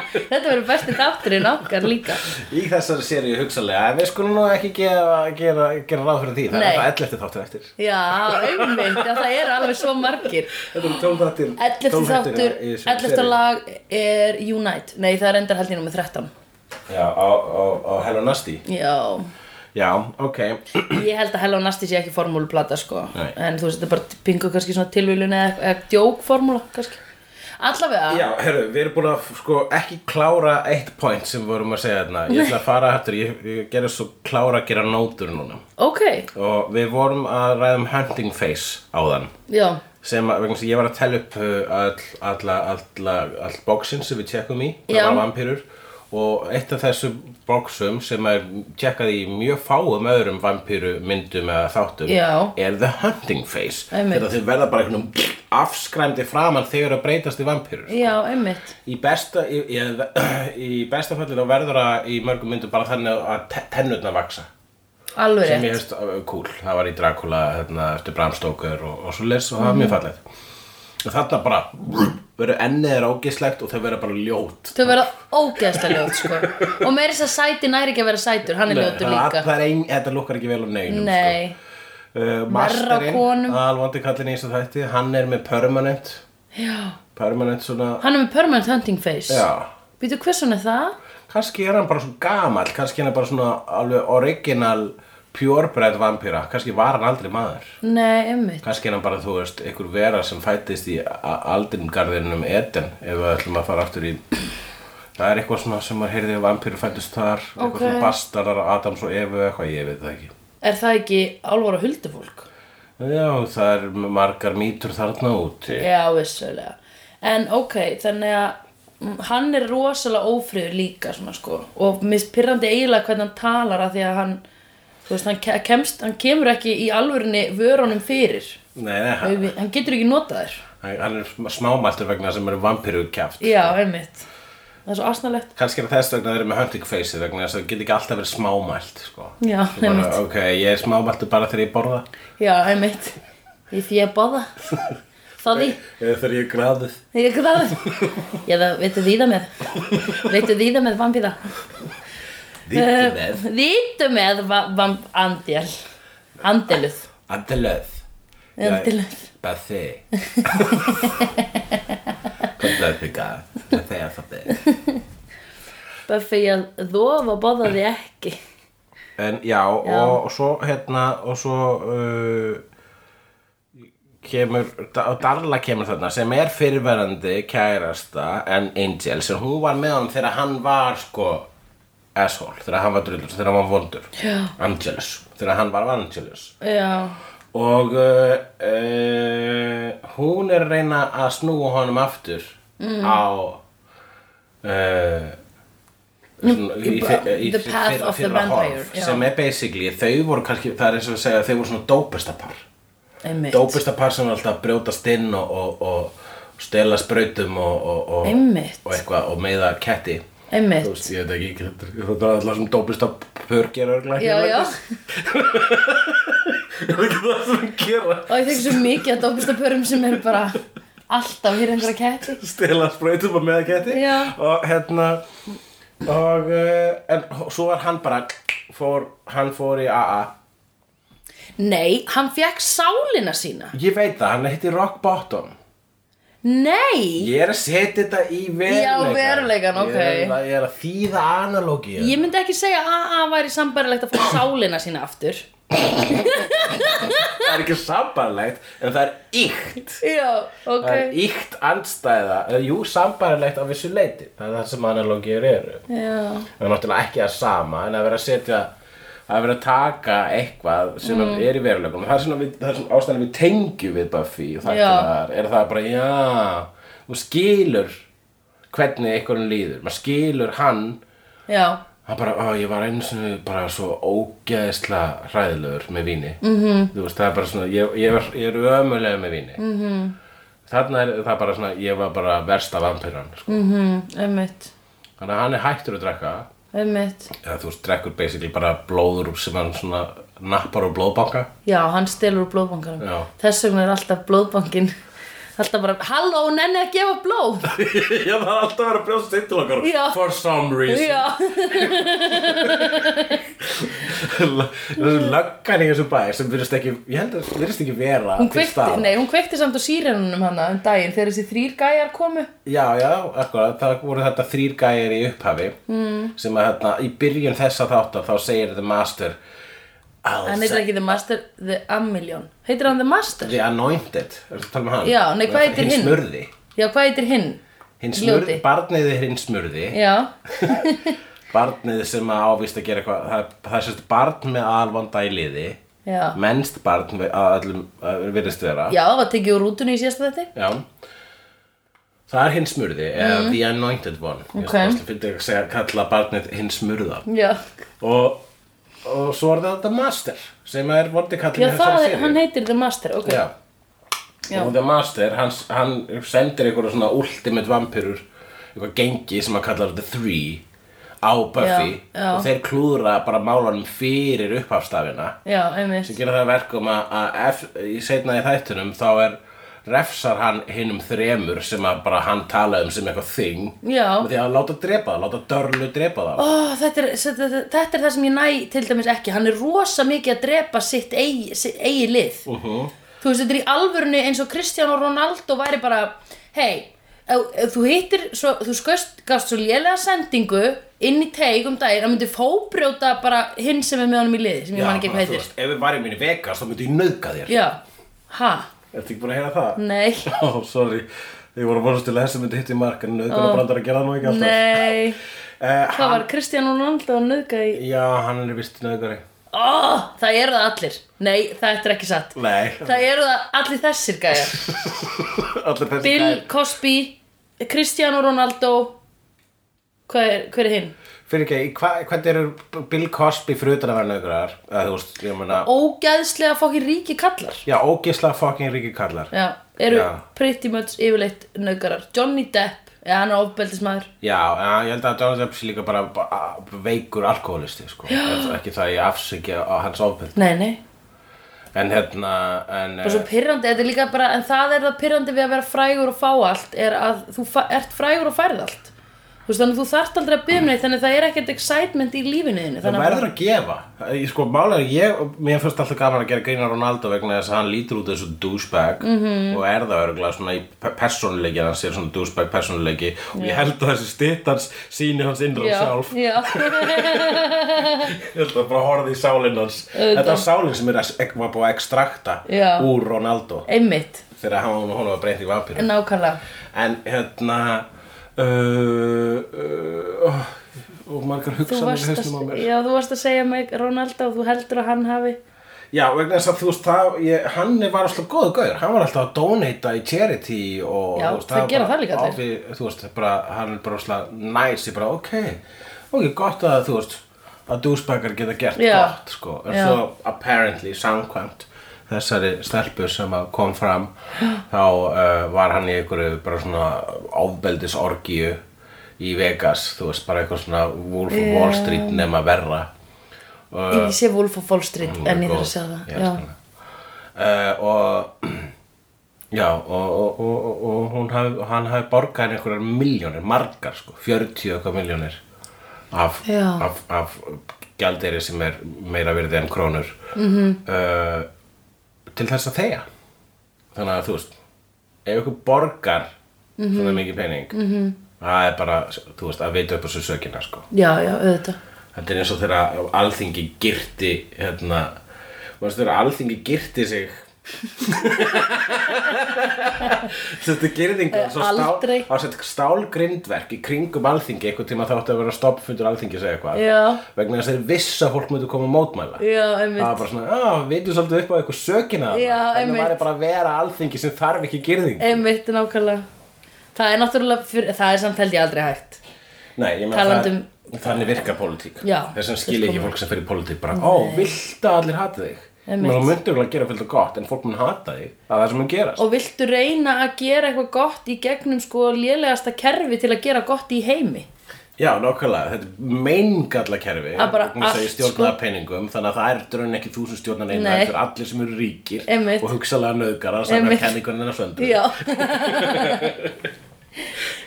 Speaker 2: Þetta verður besti þátturinn okkar líka
Speaker 1: Í þessari seríu hugsalega, en við skulum nú ekki gera, gera, gera ráð fyrir því. Það
Speaker 2: Nei.
Speaker 1: er alltaf 11 þáttur eftir.
Speaker 2: Já, einmitt, já, það eru alveg svo margir
Speaker 1: Þetta eru 12 þáttir.
Speaker 2: 11. þáttur, 11. lag er Unite Nei, það er endar held ég nummer 13
Speaker 1: Já, á, á, á Hello Nasty.
Speaker 2: Já,
Speaker 1: Já, ok.
Speaker 2: ég held að Hello Nasty sé ekki formúluplata sko
Speaker 1: Nei.
Speaker 2: En þú veist, þetta er bara pingu kannski svona tilvílun eða, eða djókformúla kannski Allavega
Speaker 1: Já, herru, við erum búin að sko ekki klára eitt point sem við vorum að segja þarna. Ég ætla að fara hættur, ég, ég gerði svo klára að gera nótur núna.
Speaker 2: Ok,
Speaker 1: Og við vorum að ræða um Hunting Face áðan.
Speaker 2: já,
Speaker 1: sem að, vegna þess að ég var að tella upp uh, öll, alla, alla, all bóksin sem við tjekkum í,
Speaker 2: Já.
Speaker 1: það var vampýrur og eitt af þessum bóksum sem er tjekkað í mjög fáum öðrum vampýru myndum eða þáttum
Speaker 2: Já.
Speaker 1: er The Hunting Face
Speaker 2: Einmitt.
Speaker 1: þegar þau verða bara einhvernum afskræmdi framan þegar að breytast í vampýrur
Speaker 2: já, einmitt
Speaker 1: Í besta, í, í, í besta falli þá verður að í mörgum myndum bara þannig að te- tennurnar vaksa
Speaker 2: Alveg
Speaker 1: sem ég
Speaker 2: rétt,
Speaker 1: hefst cool, það var í Dracula hérna, eftir Bram Stoker og, og svo les og það var
Speaker 2: Mhm.
Speaker 1: mjög fallegt og þarna bara verður ennið er ógislegt og þau verður bara ljót
Speaker 2: þau verða ógeðslega ljót sko Og meiri þess að sæti næri ekki að vera sætur, hann er ljótur
Speaker 1: það,
Speaker 2: líka
Speaker 1: það er ein, þetta lukkar ekki vel á neinum
Speaker 2: Nei,
Speaker 1: sko. uh,
Speaker 2: konum.
Speaker 1: Masterinn, alvandi kallin í þessu þætti hann er með permanent
Speaker 2: já,
Speaker 1: permanent svona,
Speaker 2: hann er með permanent hunting face
Speaker 1: já
Speaker 2: Býtu, hvers hann er það?
Speaker 1: kannski er hann bara svona gamall kannski er hann bara svona alveg original purebred vampýra, kannski var hann aldrei maður
Speaker 2: Nei, einmitt
Speaker 1: kannski er hann bara, þú veist, einhver vera sem fættist í aldringarðinum Eden, ef við ætlum að fara aftur í það er eitthvað svona sem maður heyrði að vampýru fættist þar,
Speaker 2: Ok.
Speaker 1: eitthvað svona bastardar Adams og Evu, eitthvað, ég veit það ekki
Speaker 2: Er það ekki álvara huldufólk?
Speaker 1: já, það er margar mýtur þarna úti
Speaker 2: Já, vissulega En ok, þannig að mm, hann er rosalega ófriður líka svona sko og mispyrrandi eiginlega hvernig hann talar að því að hann þú veist, hann ke- kemst, hann kemur ekki í alvörinni vörunum fyrir
Speaker 1: nei, nei, hann,
Speaker 2: hann hann getur ekki notað þér
Speaker 1: hann er sm- smámæltur vegna sem er vampýru kjaft
Speaker 2: Já, einmitt Það er svo asnalegt
Speaker 1: kannski er þess vegna að þeir eru með hunting face vegna þess að það geti ekki alltaf verið smámælt sko.
Speaker 2: Já,
Speaker 1: Þú bara,
Speaker 2: einmitt,
Speaker 1: ok, ég er smámæltur bara þegar ég borða
Speaker 2: já, einmitt Í því að bóða Það því
Speaker 1: eða þegar ég er gráðið
Speaker 2: Ég gráði Ég það veitu því það með Veitu því það með vampíða Eh,
Speaker 1: vittu með,
Speaker 2: Vítu með va- vamp andjál Andjeluð
Speaker 1: andalöð
Speaker 2: Andjeluð
Speaker 1: Buffy Kom hlaupinga Buffy að það byrð
Speaker 2: Buffy að þofa boðaði ekki
Speaker 1: En já, Og, og svo hérna og svo uh, kemur Da- Darla kemur þarna sem er fyrirverandi kærasta en Angel sem hún var með hann þegar hann var sko asshole þegar hann var drullur, þegar hann var vondur
Speaker 2: Já.
Speaker 1: Angelus, þegar hann var Angelus
Speaker 2: Já,
Speaker 1: og uh, uh, hún er að reyna að snúa honum aftur
Speaker 2: Mm.
Speaker 1: á uh, svona, í, í, í,
Speaker 2: The path
Speaker 1: fyrra-
Speaker 2: of the
Speaker 1: fyrra
Speaker 2: vampire,
Speaker 1: horf,
Speaker 2: já.
Speaker 1: sem er basically, þau voru kannski það er eins og að segja, þau voru svona dópesta par
Speaker 2: einmitt
Speaker 1: dópesta par sem var alltaf að brjótast inn og, og, og stela sprautum og, og, og,
Speaker 2: Einmitt.
Speaker 1: og eitthvað og meiða ketti Þú
Speaker 2: Einmitt
Speaker 1: veist, ég veit ekki, þetta- þetta er alltaf svona dópista pörgir örgla
Speaker 2: Já, já
Speaker 1: Ég veit ekki hérna það sem gera
Speaker 2: Og ég þekki svo mikið að dópistapörum sem eru bara alltaf hér einhverja ketti
Speaker 1: stela sprautum og meða ketti
Speaker 2: Já.
Speaker 1: og hérna og uh, en svo var hann bara fór, hann fór í AA
Speaker 2: Nei, hann fekk sálina sína
Speaker 1: ég veit það, hann heitti Rock Bottom
Speaker 2: Nei,
Speaker 1: ég er að setja þetta í veruleikan
Speaker 2: Já, veruleikan, ok.
Speaker 1: ég er, að, ég er að þýða analógíu
Speaker 2: ég myndi ekki segja að AA væri sambarilegt að fá sálina sína aftur
Speaker 1: það er ekki sambarlegt en það er íkt
Speaker 2: Já, ok
Speaker 1: það er íkt andstæða eða jú, sambarlegt af vissu leiti það er það sem analógíur eru
Speaker 2: Já,
Speaker 1: það er náttúrulega ekki að sama en að vera að setja að vera að taka eitthvað sem
Speaker 2: Mm.
Speaker 1: er í veruleikum það er svona, við- það er svona ástæðan við tengjum við Buffy og það
Speaker 2: Já.
Speaker 1: er það bara já, þú skilur hvernig einhverjum líður maður skilur hann
Speaker 2: já,
Speaker 1: hann bara, ó, ég var einu sinni bara svo ógeðsla hræðilegur með víni -hmm.
Speaker 2: Mhm.
Speaker 1: þú veist, það er bara svona ég, ég, var, ég er ömulega með víni mm -hmm.
Speaker 2: Mhm.
Speaker 1: þarna er það bara svona ég var bara versta vampíran sko.
Speaker 2: mhm, einmitt
Speaker 1: þannig að hann er hættur að drekka
Speaker 2: Einmitt
Speaker 1: eða þú veist, drekkur basically bara blóður sem hann svona nappar úr blóðbanka
Speaker 2: Já, hann stelur úr blóðbankanum
Speaker 1: Já.
Speaker 2: Þess vegna er alltaf blóðbankin Alltaf bara, halló, nenni að gefa blóð
Speaker 1: Já, það er alltaf að vera brjóst sitt til okkar
Speaker 2: Já.
Speaker 1: For some reason
Speaker 2: Já,
Speaker 1: Þessu löggan í þessu bæ sem virðist ekki, ég held að virðist ekki vera
Speaker 2: hún
Speaker 1: til
Speaker 2: kveikti,
Speaker 1: staðar.
Speaker 2: nei, hún kveikti samt á sírenunum hana um daginn þegar þessi þrýr gæjar komu
Speaker 1: Já, já, akkurat, það voru þetta þrýr gæjar í upphafi mm. sem að hérna, í byrjun þessa þáttar þá segir The Master I'll
Speaker 2: Hann heitir
Speaker 1: set
Speaker 2: ekki The Master, The Amillion Heitir hann The Master?
Speaker 1: the Anointed Er það tala um hann?
Speaker 2: Já, nei, hvað heitir
Speaker 1: Hinn
Speaker 2: hinn?
Speaker 1: smurði
Speaker 2: Já, hvað heitir hinn?
Speaker 1: Hinn smurði,
Speaker 2: Ljóti.
Speaker 1: barnið er hinn smurði
Speaker 2: Já,
Speaker 1: barnið sem að ávist að gera eitthvað það, það er sérst barn með alvanda í liði
Speaker 2: Já.
Speaker 1: mennst barn við- að öllum að virðist vera
Speaker 2: já, var tekið úr rútunni í síðasta þetta
Speaker 1: Já. það er hinn smurði eða the anointed one
Speaker 2: Mm. Ok.
Speaker 1: ég finnir að segja kalla barnið hinn smurða
Speaker 2: Já,
Speaker 1: og, og svo er það the master sem er vondi kallin
Speaker 2: já
Speaker 1: í þessari
Speaker 2: það er,
Speaker 1: seríu.
Speaker 2: hann heitir The Master, ok
Speaker 1: Já.
Speaker 2: Já.
Speaker 1: og the master hann, hann sendir einhverja svona ultimate vampirur eitthvað gengi sem hann kallar the three á Buffy
Speaker 2: Já, já.
Speaker 1: og þeir klúðra bara málanum fyrir upphafstafina
Speaker 2: Já, einmitt
Speaker 1: sem gera það að verkum að, að ef, í seinna í þættunum þá er refsar hann hinnum þremur sem að bara hann tala um sem eitthvað þing
Speaker 2: Já.
Speaker 1: með því að láta drepa það, láta dörlu drepa það
Speaker 2: Ó, þetta er, þetta, þetta- þetta er það sem ég næ til dæmis ekki Hann er rosa mikið að drepa sitt eigi, sitt eigi lið
Speaker 1: -huh.
Speaker 2: Þú veist, þetta er í alvörunni eins og Cristiano Ronaldo væri bara Hei, ef- ef þú hittir, svo, þú skust, gafst svo lélega sendingu inn í teik um daginn að myndi fóbrjóta bara hinn sem er með honum í liði sem ég man ekki hvað heitir
Speaker 1: veist, ef við varum minni vegas þá myndi ég nauðga þér
Speaker 2: Já, ha,
Speaker 1: Ertu ekki búin að heyra það?
Speaker 2: nei,
Speaker 1: Ó, sorry, ég voru að vonast til að þessi myndi hitti í mark en nauðgana brandar að gera það nú ekki alltaf
Speaker 2: nei
Speaker 1: Eh,
Speaker 2: Hvað var Cristiano Ronaldo að nöðga í
Speaker 1: Já, hann er vist nauðgari
Speaker 2: Ó, það eru það allir Nei, þetta er ekki satt
Speaker 1: Nei,
Speaker 2: Það eru það allir þessir gæjar
Speaker 1: allir þessi
Speaker 2: Bill
Speaker 1: gæjar.
Speaker 2: Cosby, Cristiano Ronaldo Hvað er, hver er hinn?
Speaker 1: Fyrir ekki, hva- hvernig eru Bill Cosby frutan að vera nauðgarar? Eða þú veist, ég meina
Speaker 2: Ógæðslega fokkin ríki kallar
Speaker 1: Já, ógisla fucking ríki kallar
Speaker 2: Já, eru
Speaker 1: Já.
Speaker 2: pretty much yfirleitt nöðgarar Johnny Depp, eða hann er ofbeldismæður
Speaker 1: Já, en ég held að Donald Trump sé líka bara bara veikur alkoholisti, sko Ef- Ekki það ég afsækja á hans ofbeld
Speaker 2: Nei, nei,
Speaker 1: En hérna, en
Speaker 2: og svo pyrrandi, þetta er líka bara En það er það pyrrandi við að vera frægur og fá allt Er að þú fa- ert frægur og færð allt Þú veist, þannig að þú þarft aldrei að byrja um neitt Þannig að það er ekkert excitement í lífinu þínu
Speaker 1: Það
Speaker 2: Þannig að
Speaker 1: verður að gefa Ég, Sko, málega ég, mér finnst alltaf gaman að gera grínar Ronaldo vegna þess að hann lítur út eins og douchebag
Speaker 2: Mhm.
Speaker 1: -hmm. og er það örgulega svona í persónuleiki hann sé svona douchebag persónuleiki og ég held að þessi stytt hans síni hans innra
Speaker 2: Já,
Speaker 1: sjálf
Speaker 2: já,
Speaker 1: Ég held að bara horfði í sálinn hans
Speaker 2: Auðvitað.
Speaker 1: Þetta var sálinn sem er að, var búið að ekstrakta
Speaker 2: Já.
Speaker 1: úr Ronaldo
Speaker 2: einmitt,
Speaker 1: þegar hann honum var breynt í vampíru
Speaker 2: nákvæmlega
Speaker 1: En hérna uh, uh, oh, og margar
Speaker 2: Þú
Speaker 1: hugsanir í
Speaker 2: varst,
Speaker 1: hausnum á
Speaker 2: að,
Speaker 1: mér
Speaker 2: já, þú varst að segja mig Ronaldo og þú heldur að hann hafi
Speaker 1: Já, vegna þess að þú veist, það, ég, hann var alltaf góðu gaur, hann var alltaf að donata í charity og
Speaker 2: Já,
Speaker 1: þú veist,
Speaker 2: þeir
Speaker 1: var
Speaker 2: gera
Speaker 1: bara
Speaker 2: það líka allir.
Speaker 1: áfí- Þú veist, bara, hann er bara alltaf næs, ég bara, ok, ok, gott að þú veist, að dúsbakar geta gert
Speaker 2: Já.
Speaker 1: gott, sko En
Speaker 2: Já.
Speaker 1: svo, apparently, samkvæmt þessari stelpu sem að kom fram, þá uh, var hann í einhverju bara svona ofbeldisorgíu í Vegas, þú veist, bara eitthvað svona Wolf of Wall Street nema verra
Speaker 2: Ég sé Wolf of Wall Street
Speaker 1: Hún
Speaker 2: en
Speaker 1: er
Speaker 2: ég þarf
Speaker 1: góð.
Speaker 2: að segja það
Speaker 1: Ég
Speaker 2: já.
Speaker 1: elska hana. Eh, og já og, og, og, og, og hún haf, hann hafi borgað henni einhverjar miljónir, margar sko 40 eitthvað miljónir af,
Speaker 2: Já.
Speaker 1: af, af gjaldeyri sem er meira virði en krónur mm -hmm.
Speaker 2: Mhm.
Speaker 1: til þess að þegja þannig að þú veist ef ykkur borgar
Speaker 2: Mhm.
Speaker 1: svona mikið pening mm -hmm. það er bara, þú veist, að veita upp þessu sökina sko
Speaker 2: já, já, auðvitað
Speaker 1: Þetta er eins og þegar alþingi girti hérna, varstu þegar alþingi girti sig Þetta gerðingu
Speaker 2: Eh, aldrei.
Speaker 1: á sett stálgrindverk í kringum alþingi einhvern tíma þáttu að vera stoppfundur alþingi segja eitthvað
Speaker 2: Já.
Speaker 1: vegna þess að þeir viss að fólk myndi koma að mótmæla
Speaker 2: Já,
Speaker 1: Það var
Speaker 2: einmitt
Speaker 1: bara svona, já, veitum svolítið upp á eitthvað sökina þarna."
Speaker 2: Já,
Speaker 1: Þannig
Speaker 2: einmitt.
Speaker 1: væri bara að vera alþingi sem þarf ekki girðing
Speaker 2: Einmitt, nákvæmlega Það er náttúrulega, fyrir, það er samt held ég aldrei hægt
Speaker 1: Nei, ég meina
Speaker 2: Talandi um-
Speaker 1: það- Þannig virka pólitík
Speaker 2: Já,
Speaker 1: Þess vegna skil ég ekki
Speaker 2: fullkomlega.
Speaker 1: fólk sem fer í pólitík bara, ó, vilt að allir hati þig
Speaker 2: Einmitt.
Speaker 1: Menn þú myndir vel að gera fyrir gott en fólk mun hata þig það er það sem mun gerast
Speaker 2: Og viltu reyna að gera eitthvað gott í gegnum sko lélegasta kerfi til að gera gott í heimi
Speaker 1: Já, nákvæmlega, þetta er meingalla kerfi
Speaker 2: Að bara
Speaker 1: vegna þess að
Speaker 2: allt,
Speaker 1: ég stjórnaða
Speaker 2: sko.
Speaker 1: peningum þannig að það er drönn ekki þú sem stjórnar neina
Speaker 2: Nei.
Speaker 1: þetta er allir sem eru ríkir
Speaker 2: Einmitt.
Speaker 1: og hugsalega nöðgar að sagna
Speaker 2: Einmitt.
Speaker 1: kenningunni en að söndu
Speaker 2: Já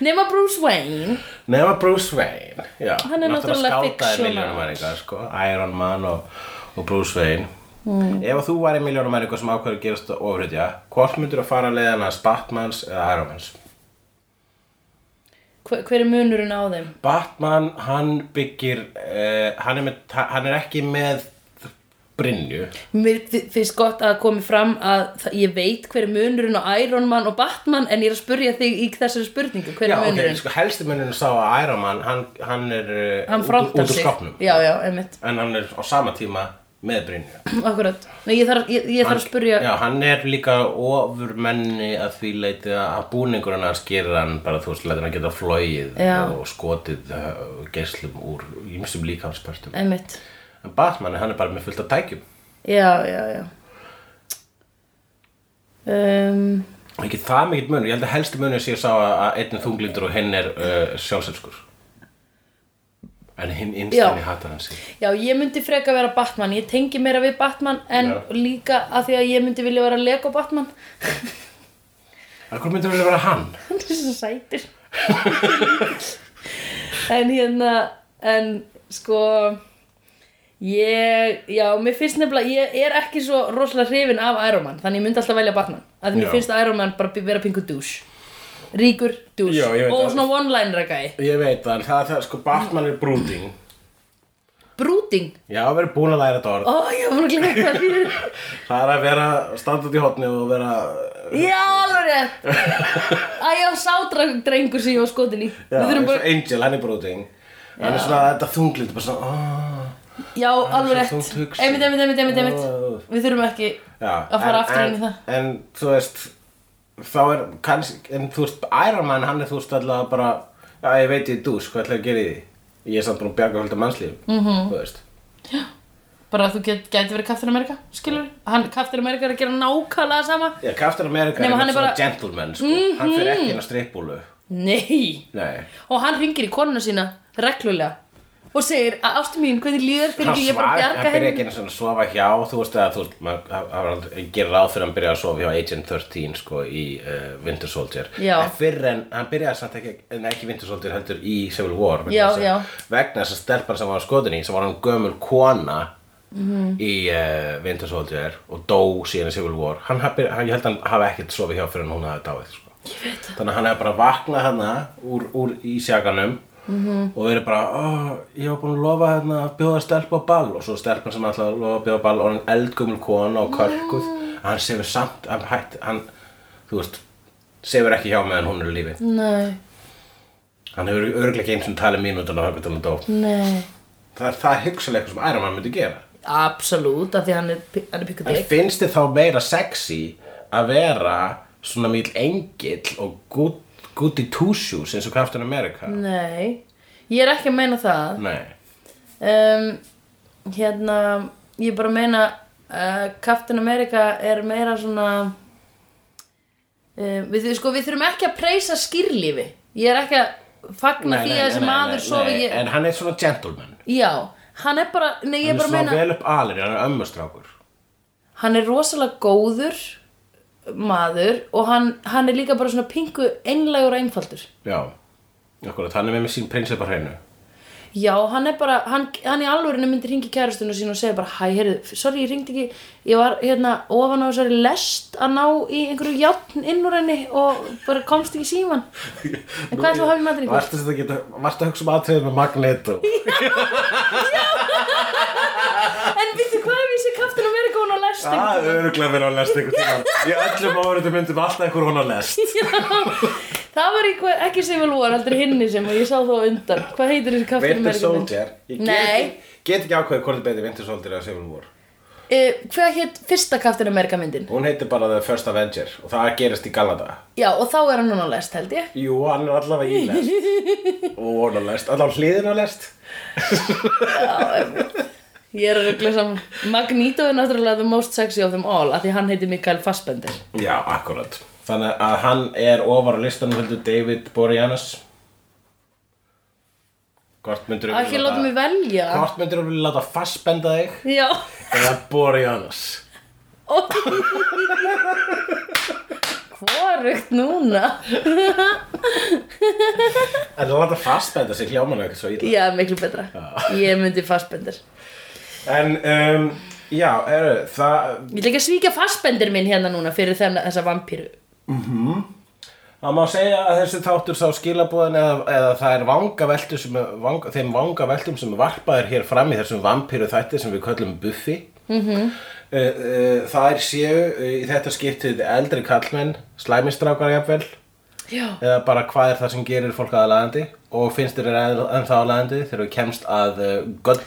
Speaker 2: Nema Bruce Wayne
Speaker 1: Nefna Bruce Wayne Já,
Speaker 2: Hann er náttúrulega
Speaker 1: skátaði
Speaker 2: fictional.
Speaker 1: miljónumæringa sko, Iron Man og, og Bruce Wayne
Speaker 2: Hmm.
Speaker 1: mm. Ef að þú væri miljónumæringa sem ákveður að gerast ofriðja Hvort myndir að fara leiðan að Batmans eða Ironmans?
Speaker 2: hver, hver er munurinn á þeim?
Speaker 1: Batman, hann byggir uh, hann, er með, hann er ekki með Brynju
Speaker 2: Mér fi- finnst gott að komi fram að það- ég veit hver er munurinn á Iron Man og Batman en ég er að spurja þig í þessari spurningu hver er
Speaker 1: Já, ok,
Speaker 2: munurinn
Speaker 1: sko, helsti munurinn sá að Iron Man hann, hann er eh,
Speaker 2: Hann
Speaker 1: út,
Speaker 2: frontar
Speaker 1: út úr
Speaker 2: sig
Speaker 1: skapnum
Speaker 2: Já, já, einmitt
Speaker 1: En hann er á sama tíma með Brynju
Speaker 2: Akkurat Nei, ég þarf, ég, ég þarf að spurja
Speaker 1: Já, hann er líka ofurmenni að því leiti að búningurinn hans gerir hann bara þú veist, letur hann geta flóið
Speaker 2: Já.
Speaker 1: og skotið uh, geislum úr ýmsum líkamspartum.
Speaker 2: Einmitt
Speaker 1: En Batman, hann er bara með fullt af tækjum.
Speaker 2: Já, já, já um,
Speaker 1: Ekki það mikill munur, ég held að helsti munur sé sá að að einn er þunglindur og hinn er uh, sjálfselskur. En hinn innstæðni hatar hann sig.
Speaker 2: Já, ég myndi freka vera Batman Ég tengi meira við Batman en
Speaker 1: Já.
Speaker 2: líka að því að ég myndi vilja vera Lego Batman
Speaker 1: En hvað myndir vel að vera hann?
Speaker 2: Hann er svo sætur En hérna En sko Ég, já, mér finnst nefnilega Ég er ekki svo rosalega hrifin af Iron Man Þannig ég myndi alltaf velja Batman Að því
Speaker 1: Já.
Speaker 2: mér finnst Iron Man bara b- vera pingu dús Ríkur dús
Speaker 1: Já, ég veit
Speaker 2: Og
Speaker 1: það.
Speaker 2: svona one-liner gæi
Speaker 1: Ég veit það, en það, það sko, Batman er brúting.
Speaker 2: Brúting
Speaker 1: Já, við erum búin að læra þetta orð.
Speaker 2: Ó, ég var búin að glemja hvað það fyrir
Speaker 1: Það er að vera, standa út í hotni og vera
Speaker 2: Já, alveg rétt Æ, já, sádrengur sem ég var skotin í
Speaker 1: Já,
Speaker 2: Við þurfum
Speaker 1: eins og
Speaker 2: bara
Speaker 1: Angel, hann er brúting Hann er svona þetta þunglind bara svona oh.
Speaker 2: Já, alveg rétt
Speaker 1: þungt hugsi.
Speaker 2: Einmitt, einmitt, einmitt, einmitt,
Speaker 1: Já.
Speaker 2: einmitt Við þurfum ekki
Speaker 1: Já,
Speaker 2: að fara aftur inn í það
Speaker 1: En þú veist þá er kannski en þú veist Iron Man hann er þú veist allavega bara já ég veit ég er dús hvað ætlaðu að gera í því ég er samt búin að bjarga hölda mannslíf mm
Speaker 2: Mhm.
Speaker 1: -hmm. þú veist
Speaker 2: Bara að þú get, gæti verið Captain America, skilur Hann, Captain America er að gera nákvæmlega sama
Speaker 1: Já, Captain America
Speaker 2: Nema,
Speaker 1: er
Speaker 2: hann er
Speaker 1: svona
Speaker 2: bara- Mhm.
Speaker 1: gentleman sko hann fyrir ekki inn á streipbúlu
Speaker 2: Nei
Speaker 1: Nei
Speaker 2: Og hann ringir í konuna sína reglulega Og segir að ástu mín, hvernig líður fyrir
Speaker 1: Hann
Speaker 2: ekki ég bara að
Speaker 1: svar, hann
Speaker 2: bjarga
Speaker 1: byrja
Speaker 2: henni
Speaker 1: ekki einu sinni að sofa hjá, þú veist að þú veist, maður hann- hann gerir ráð fyrir að hann byrja að sofa hjá Agent 13 sko í uh, Winter Soldier
Speaker 2: Já.
Speaker 1: En fyrr en, hann byrjaði samt ekki, en ekki Winter Soldier heldur í Civil War vegna
Speaker 2: Já,
Speaker 1: þess að-
Speaker 2: já.
Speaker 1: Vegna þess að stelpan sem var skotin í, sem var hann gömul kona
Speaker 2: Mhm.
Speaker 1: í uh, Winter Soldier og dó síðan í Civil War Hann hafi, hann, ég held að hann hafi ekkert sofið hjá fyrir en hún hafi dáið sko Þannig að hann hefði bara vaknað hann úr, úr ísjakanum
Speaker 2: Mhm.
Speaker 1: og verið bara, oh, ég var búin að lofa hérna að bjóða stelpa á ball og svo stelpan sem ætlaði að lofa að bjóða á ball og hann eldgumul kona og kölkuð hann sefur samt, hann hætt, hann, þú veist, sefur ekki hjá meðan hún er í lífi
Speaker 2: Nei
Speaker 1: Hann hefur örglega ekki eins og talið mínútana þangað til hann dó.
Speaker 2: Nei
Speaker 1: Það er það hugsalega eitthvað sem Iron Man myndi gera.
Speaker 2: Absolutt, af því að hann er, pi- hann er pikkur
Speaker 1: En
Speaker 2: deg
Speaker 1: finnst þið þá meira sexy að vera svona mýl engill og good, goody two shoes eins og Captain America?
Speaker 2: Mm. Nei, ég er ekki að meina það
Speaker 1: Nei.
Speaker 2: um, hérna ég bara meina uh, Captain America er meira svona uh, við, sko, við þurfum ekki að preysa skýrlífi ég er ekki að fagna því að þessi maður sofi ég,
Speaker 1: En hann er svona gentleman.
Speaker 2: já, hann er bara nei, ég
Speaker 1: Hann er
Speaker 2: bara
Speaker 1: svona
Speaker 2: meina,
Speaker 1: vel upp alinn, hann er ömmustrákur.
Speaker 2: hann er rosalega góður maður og hann, hann er líka bara svona pingu einlægur og einfaldur
Speaker 1: Já. Akkurat, hann er með með sín prinsipar hreinu.
Speaker 2: Já, hann er bara, hann, hann í alvörinu myndi ringi kærastunum sín og segja bara Hæ, heyrðu, sorry, ég ringdi ekki, ég var hérna ofan á þessari lest að ná í einhverju játn inn úr henni og bara komst ekki í síman En hvað ætlaðu að hafa í matinn ykkur?
Speaker 1: Varstu þetta að geta, varstu að hugsa um aðtriðið með Magneto?
Speaker 2: En vittu, hvað ef ég sé Captain America hún á lest einhvern
Speaker 1: Það er öruglega verið að lesta einhvern tíma. Í öllum áverðum myndum alltaf einhver hún að lest.
Speaker 2: tímann? Já, það var eitthvað, ekki sem vel var, heldur hinni sem og ég sá þá undan Hvað heitir þessi Captain
Speaker 1: Winter
Speaker 2: America mynd?
Speaker 1: Soldier. Ég get
Speaker 2: Nei.
Speaker 1: ekki- Get ekki ákveðið hvort er betið Winter Soldier eða Civil War.
Speaker 2: Uh, hvað hétt fyrsta Captain America myndin?
Speaker 1: Hún heitir bara The First Avenger og það gerist í Galada.
Speaker 2: Já, og þá er hann hún á lest, held ég
Speaker 1: Jú, hann er allavega í lest. Og hún að lest. Allavega hliðin að lest.
Speaker 2: Ég er að ruggla saman. Magneto er náttúrulega the most sexy of them all af því hann heiti Mikael Fassbender.
Speaker 1: Já, akkurat. Þannig að hann er ofar á listanum heldur David Boreanaz. Hvort myndir
Speaker 2: Ekki láta mig velja.
Speaker 1: Hvort myndir við láta fastbenda þig
Speaker 2: Já.
Speaker 1: eða Boreanaz?
Speaker 2: Ó. Hvorugt núna.
Speaker 1: En að láta fastbenda sig hljáman ekkert svo illa.
Speaker 2: Já, miklu betra. Ég myndi Fassbender.
Speaker 1: En, um, já, eru, það,
Speaker 2: Ég ætla ekki að svíka Fassbender minn hérna núna fyrir þennan þessa vampíru.
Speaker 1: Það má segja að þessi þáttur sá skilabúðan eða, eða það er vangaveltu sem, er- vang, þeim vangaveltum sem er varpaður hér fram í þessum vampíru þætti sem við köllum Buffy. Mm -hmm. það er séu uh, í þetta skiptið eldri kallmenn, slæmistrákar jafnvel,
Speaker 2: Já.
Speaker 1: eða bara hvað er það sem gerir fólk aðalagandi og finnst þér er ennþá aðalagandi þegar við kemst að uh, göll,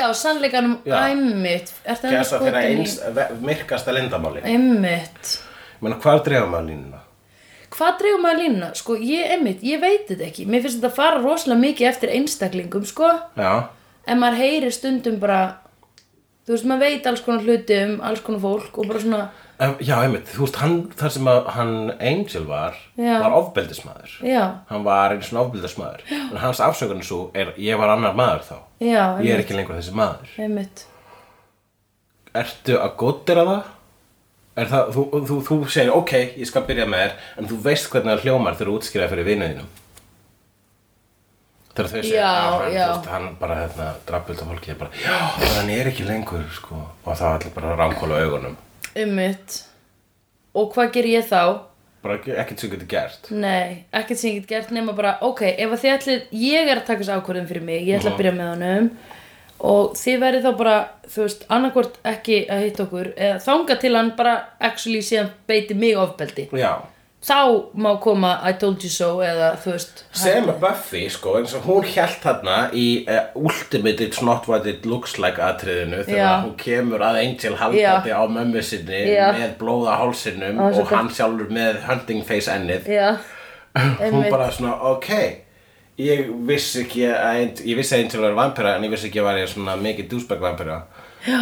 Speaker 2: Já, sannleikanum
Speaker 1: Já.
Speaker 2: æmmitt. Er það sko
Speaker 1: kemst að þeirra eins, ve- myrkasta lindamáli.
Speaker 2: Æmmitt.
Speaker 1: Ég meina, hvað dreifum að línuna?
Speaker 2: Hvað dreifum maður línuna? Sko, ég, einmitt, ég veit þetta ekki. Mér finnst þetta fara rosalega mikið eftir einstaklingum, sko.
Speaker 1: Já,
Speaker 2: En maður heyrir stundum bara, þú veist, maður veit alls konar hluti um alls konar fólk og bara svona,
Speaker 1: Um, Já, einmitt, þú veist, hann, þar sem að, hann Angel var,
Speaker 2: Já.
Speaker 1: var ofbeldismæður.
Speaker 2: já,
Speaker 1: Hann var einu svona ofbeldismæður. En hans afsökunin svo er, ég var annar maður þá.
Speaker 2: já,
Speaker 1: Ég
Speaker 2: einmitt,
Speaker 1: er ekki lengur þessi maður.
Speaker 2: einmitt.
Speaker 1: Ertu að góttera það? Er það, þú, þú, þú segir, ok, ég skal byrja með þér, en þú veist hvernig það hljómar þegar þú útskýraði fyrir vinuðinum. Þegar þau segja,
Speaker 2: Já,
Speaker 1: "Ah, hann,
Speaker 2: já.
Speaker 1: þú veist, hann bara, hérna, drappult af fólki, ég bara, já, hann er ekki lengur, sko. Og það var allir bara að ránkóla augunum.
Speaker 2: Einmitt. Og hvað ger ég þá?
Speaker 1: Bara ekki- ekkert sem þú getur gert.
Speaker 2: Nei, ekkert sem ég get gert nema bara, ok, ef að þið ætlið, ég er að taka þessu ákvörðum fyrir mig, ég ætla að byrja með honum og þið verðið þá bara, þú veist, annarkvort ekki að hitta okkur eða þanga til hann bara actually síðan beiti mig ofbeldi.
Speaker 1: Já.
Speaker 2: Þá má koma I told you so eða þú veist,
Speaker 1: sem að Buffy sko eins og hún held þarna í uh, Ultimate It's Not What It Looks Like atriðinu þegar
Speaker 2: Já.
Speaker 1: hún kemur að Angel haldandi á mömmu sinni
Speaker 2: Já.
Speaker 1: með blóða hálsinum
Speaker 2: Á, svo
Speaker 1: og hann sjálfur með hunting face ennið
Speaker 2: já,
Speaker 1: hún
Speaker 2: einmitt.
Speaker 1: bara svona ok ég vissi ekki að Angel, ég vissi að Angel var vampira en ég vissi ekki að var ég svona mikið douchebag vampira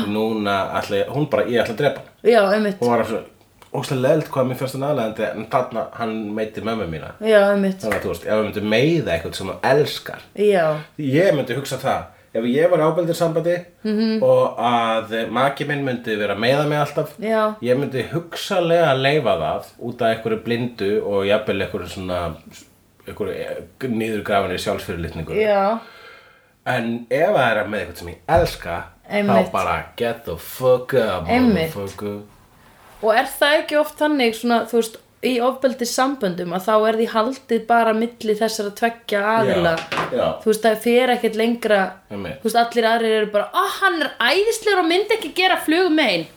Speaker 1: núna ætla ég, hún bara ég ætla að drepa hann
Speaker 2: já, einmitt,
Speaker 1: hún var svona óslega leðilt hvað mér fyrst hann aðlegandi en þarna hann meiti mömmu mína
Speaker 2: já, einmitt,
Speaker 1: þannig að þú veist ef við myndum meiða eitthvað sem þú elskar
Speaker 2: já.
Speaker 1: Ég myndi hugsa það Ef ég var ábeldir sambandi
Speaker 2: Mhm.
Speaker 1: og að maki minn myndi vera að meiða mig alltaf
Speaker 2: Já.
Speaker 1: Ég myndi hugsalega að leifa það út af einhverju blindu og jafnvel einhverju svona einhverju nýðurgrafinni sjálfsfyrirlitningu
Speaker 2: Já,
Speaker 1: En ef það er með eitthvað sem ég elska
Speaker 2: Einmitt.
Speaker 1: þá bara get the fuck up
Speaker 2: Einmitt.
Speaker 1: motherfucker.
Speaker 2: og er það ekki oft þannig svona, þú veist, í ofbeldi samböndum að þá er því haldið bara milli þessara tveggja aðila
Speaker 1: Já, já.
Speaker 2: þú veist, það fer ekkert lengra
Speaker 1: Einmitt.
Speaker 2: þú veist, allir aðrir eru bara ah, hann er æðislegur og myndi ekki gera flugum um einn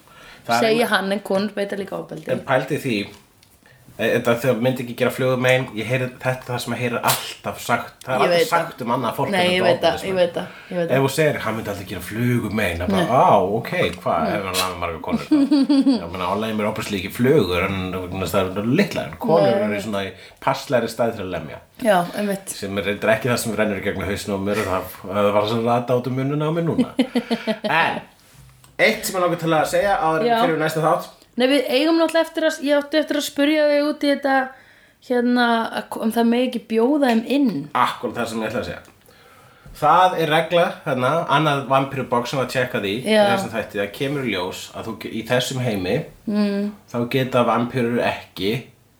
Speaker 1: Það er
Speaker 2: segja hann en konur beita líka ofbeldi
Speaker 1: En pældi því eh, Þetta þau myndi ekki gera flugum einn Ég heyri þetta er það sem ég heyri alltaf sagt Það
Speaker 2: Ég
Speaker 1: er
Speaker 2: veit
Speaker 1: alltaf
Speaker 2: það.
Speaker 1: sagt um annað fólk
Speaker 2: Nei,
Speaker 1: en
Speaker 2: ég
Speaker 1: þetta
Speaker 2: veit það,
Speaker 1: ofbeldismenn.
Speaker 2: ég veit það, ég veit það.
Speaker 1: Ef þú segir, hann myndi alltaf gera flugum einn Það er bara, á, ok, hvað, ef hann lafa marga konur þá?" Ég meina, álega mér opast líki flugur En vegna þess að það er litla En konur eru í svona í passlæri stað til að lemja
Speaker 2: Já, einmitt
Speaker 1: sem er reyndar ekki það sem rennur í gegnum hausnum á mér og það, það var svo rata át um mununa á mér núna en eitt sem ég langar til að segja áður
Speaker 2: Já.
Speaker 1: en fyrir næsta þátt
Speaker 2: Nei, við eigum náttúrulega eftir að, ég átti eftir að spurja þau út í þetta hérna, að- um það megi ekki bjóða þeim inn
Speaker 1: akkur það sem ég ætla að segja það er regla þarna annað vampirubokk sem var tjekkað í í
Speaker 2: Já.
Speaker 1: þessum þætti það kemur í ljós að þú, í þessum heimi mm. þá geta vampirur ekki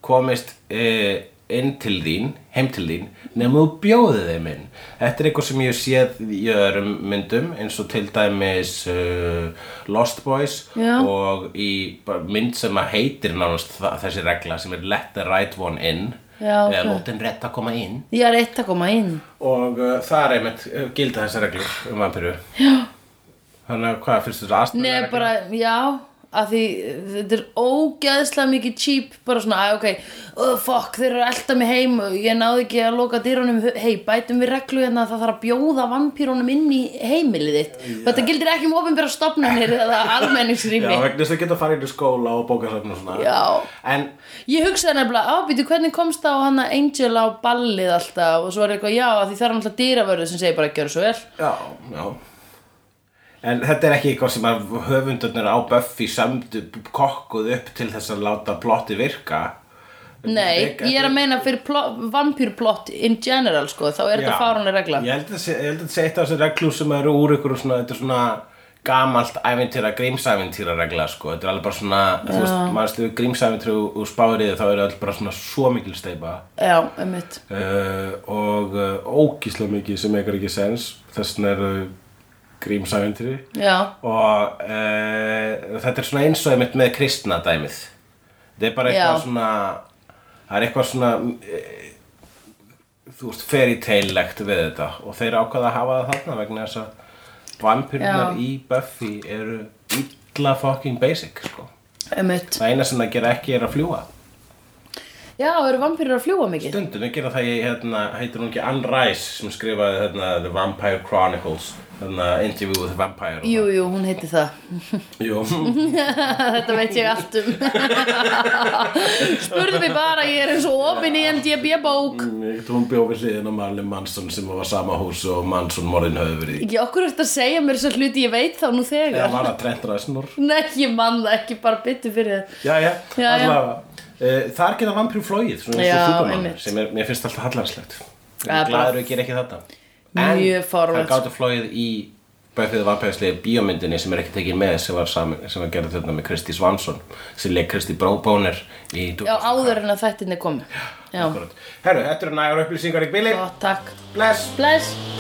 Speaker 1: komist e, inn til þín, heim til þín nema þú bjóðið þeim inn þetta er eitthvað sem ég hef séð í öðrum myndum eins og til dæmis uh, Lost Boys
Speaker 2: Já.
Speaker 1: og í bara mynd sem að heitir nánast þa- þessi regla sem er Let the right one in
Speaker 2: Já,
Speaker 1: eða
Speaker 2: ok.
Speaker 1: Lótin rétt að koma inn
Speaker 2: Ég er eitt að koma inn
Speaker 1: og uh, það er einmitt uh, gilda þessar reglur um vampiru já þannig að hvað finnst þú þetta aðstæða
Speaker 2: Nei, bara, já að því þetta er ógeðslega mikið cheap bara svona, að ok, uh, fuck þeir eru að elta mig heim, ég náði ekki að loka dyrunum, hei, bætum við reglu hérna að það þarf að bjóða vampírunum inn í heimilið þitt, og þetta gildir ekki um ofinbæra stopnarnir eða almenningsrými
Speaker 1: já vegna þess að geta farið inn í skóla og bókasöfn og svona
Speaker 2: Já.
Speaker 1: en
Speaker 2: Ég hugsaði nefnilega, ábýtu, hvernig komst það á hana Angel á ballið alltaf og svo er eitthvað, já, af því það er alltaf dýravörðu sem segir bara að gjöra svo vel.
Speaker 1: já já En þetta er ekki eitthvað sem að höfundurnir á Buffy samdu kokkuð upp til þess að láta plotti virka.
Speaker 2: Nei,
Speaker 1: Þetta-
Speaker 2: ég er að meina fyrir plo- vampýrplott in general, sko, þá er
Speaker 1: Já.
Speaker 2: þetta fáránlega regla.
Speaker 1: Ég held að sé- ég held að þetta sé eitt af þessu reglu sem eru úr ykkur svona, þetta er svona gamalt ævintýra, grímsævintýra regla sko. þetta er alveg bara svona, þú veist, maður stuður grímsævintýra og, og spáir í þau þá eru allir bara svona svo mikil steipa
Speaker 2: Já, einmitt.
Speaker 1: uh, og uh, ógíslega mikið sem eitthvað ekki sens þess vegna eru grímsævintýri
Speaker 2: Já,
Speaker 1: og uh, þetta er svona eins og einmitt með kristna dæmið þetta er bara eitthvað
Speaker 2: Já.
Speaker 1: svona það er eitthvað svona uh, þú veist, fairytale-legt við þetta og þeir ákvaða að hafa það þarna vegna þess að vampirnar
Speaker 2: Já.
Speaker 1: í Buffy eru illa fucking basic sko.
Speaker 2: einmitt.
Speaker 1: það eina sem það gera ekki er að fljúa
Speaker 2: Já, eru vampýrur að fljúa mikið?
Speaker 1: stundum við gera það í, hérna, heitir hún ekki Anne Rice sem skrifaði hérna, The Vampire Chronicles hérna, Interview with the Vampire og
Speaker 2: Jú, jú, hún heiti það.
Speaker 1: það. Jú.
Speaker 2: þetta veit ég allt um. Spurðu mig bara, ég er eins og opin í MDB-bók.
Speaker 1: Ég veit, Hún bjó við hliðin á Marlin Manson sem var sama hús og Manson morðin höfðu verið í.
Speaker 2: Ekki okkur ert að segja mér þess hluti ég veit þá nú þegar.
Speaker 1: Eða var það Trent Reznor?
Speaker 2: Nei, ég man það ekki bara byttu fyrir það.
Speaker 1: Jæja,
Speaker 2: Já, já.
Speaker 1: allavega. Uh, þar geta vampíru flóið, svona eins
Speaker 2: Já,
Speaker 1: og Superman,
Speaker 2: einmitt.
Speaker 1: sem er, mér finnst alltaf hallarslegt. Ég
Speaker 2: Ja,
Speaker 1: er
Speaker 2: bara-
Speaker 1: Glæður að gera ekki þetta.
Speaker 2: Mjög fáránlegt.
Speaker 1: það gáttu flóið í Buffyðu vampæðislega bíómyndinni sem er ekki tekin með sem var, sami, sem var gerðið þarna með Kristi Svansson sem leik Kristi Bróbónir í
Speaker 2: Já, áður en að þættinni komi. Já,
Speaker 1: Herru, þetta eru nægar upplýsingar í bili.
Speaker 2: gott, takk.
Speaker 1: Bless!
Speaker 2: Bless.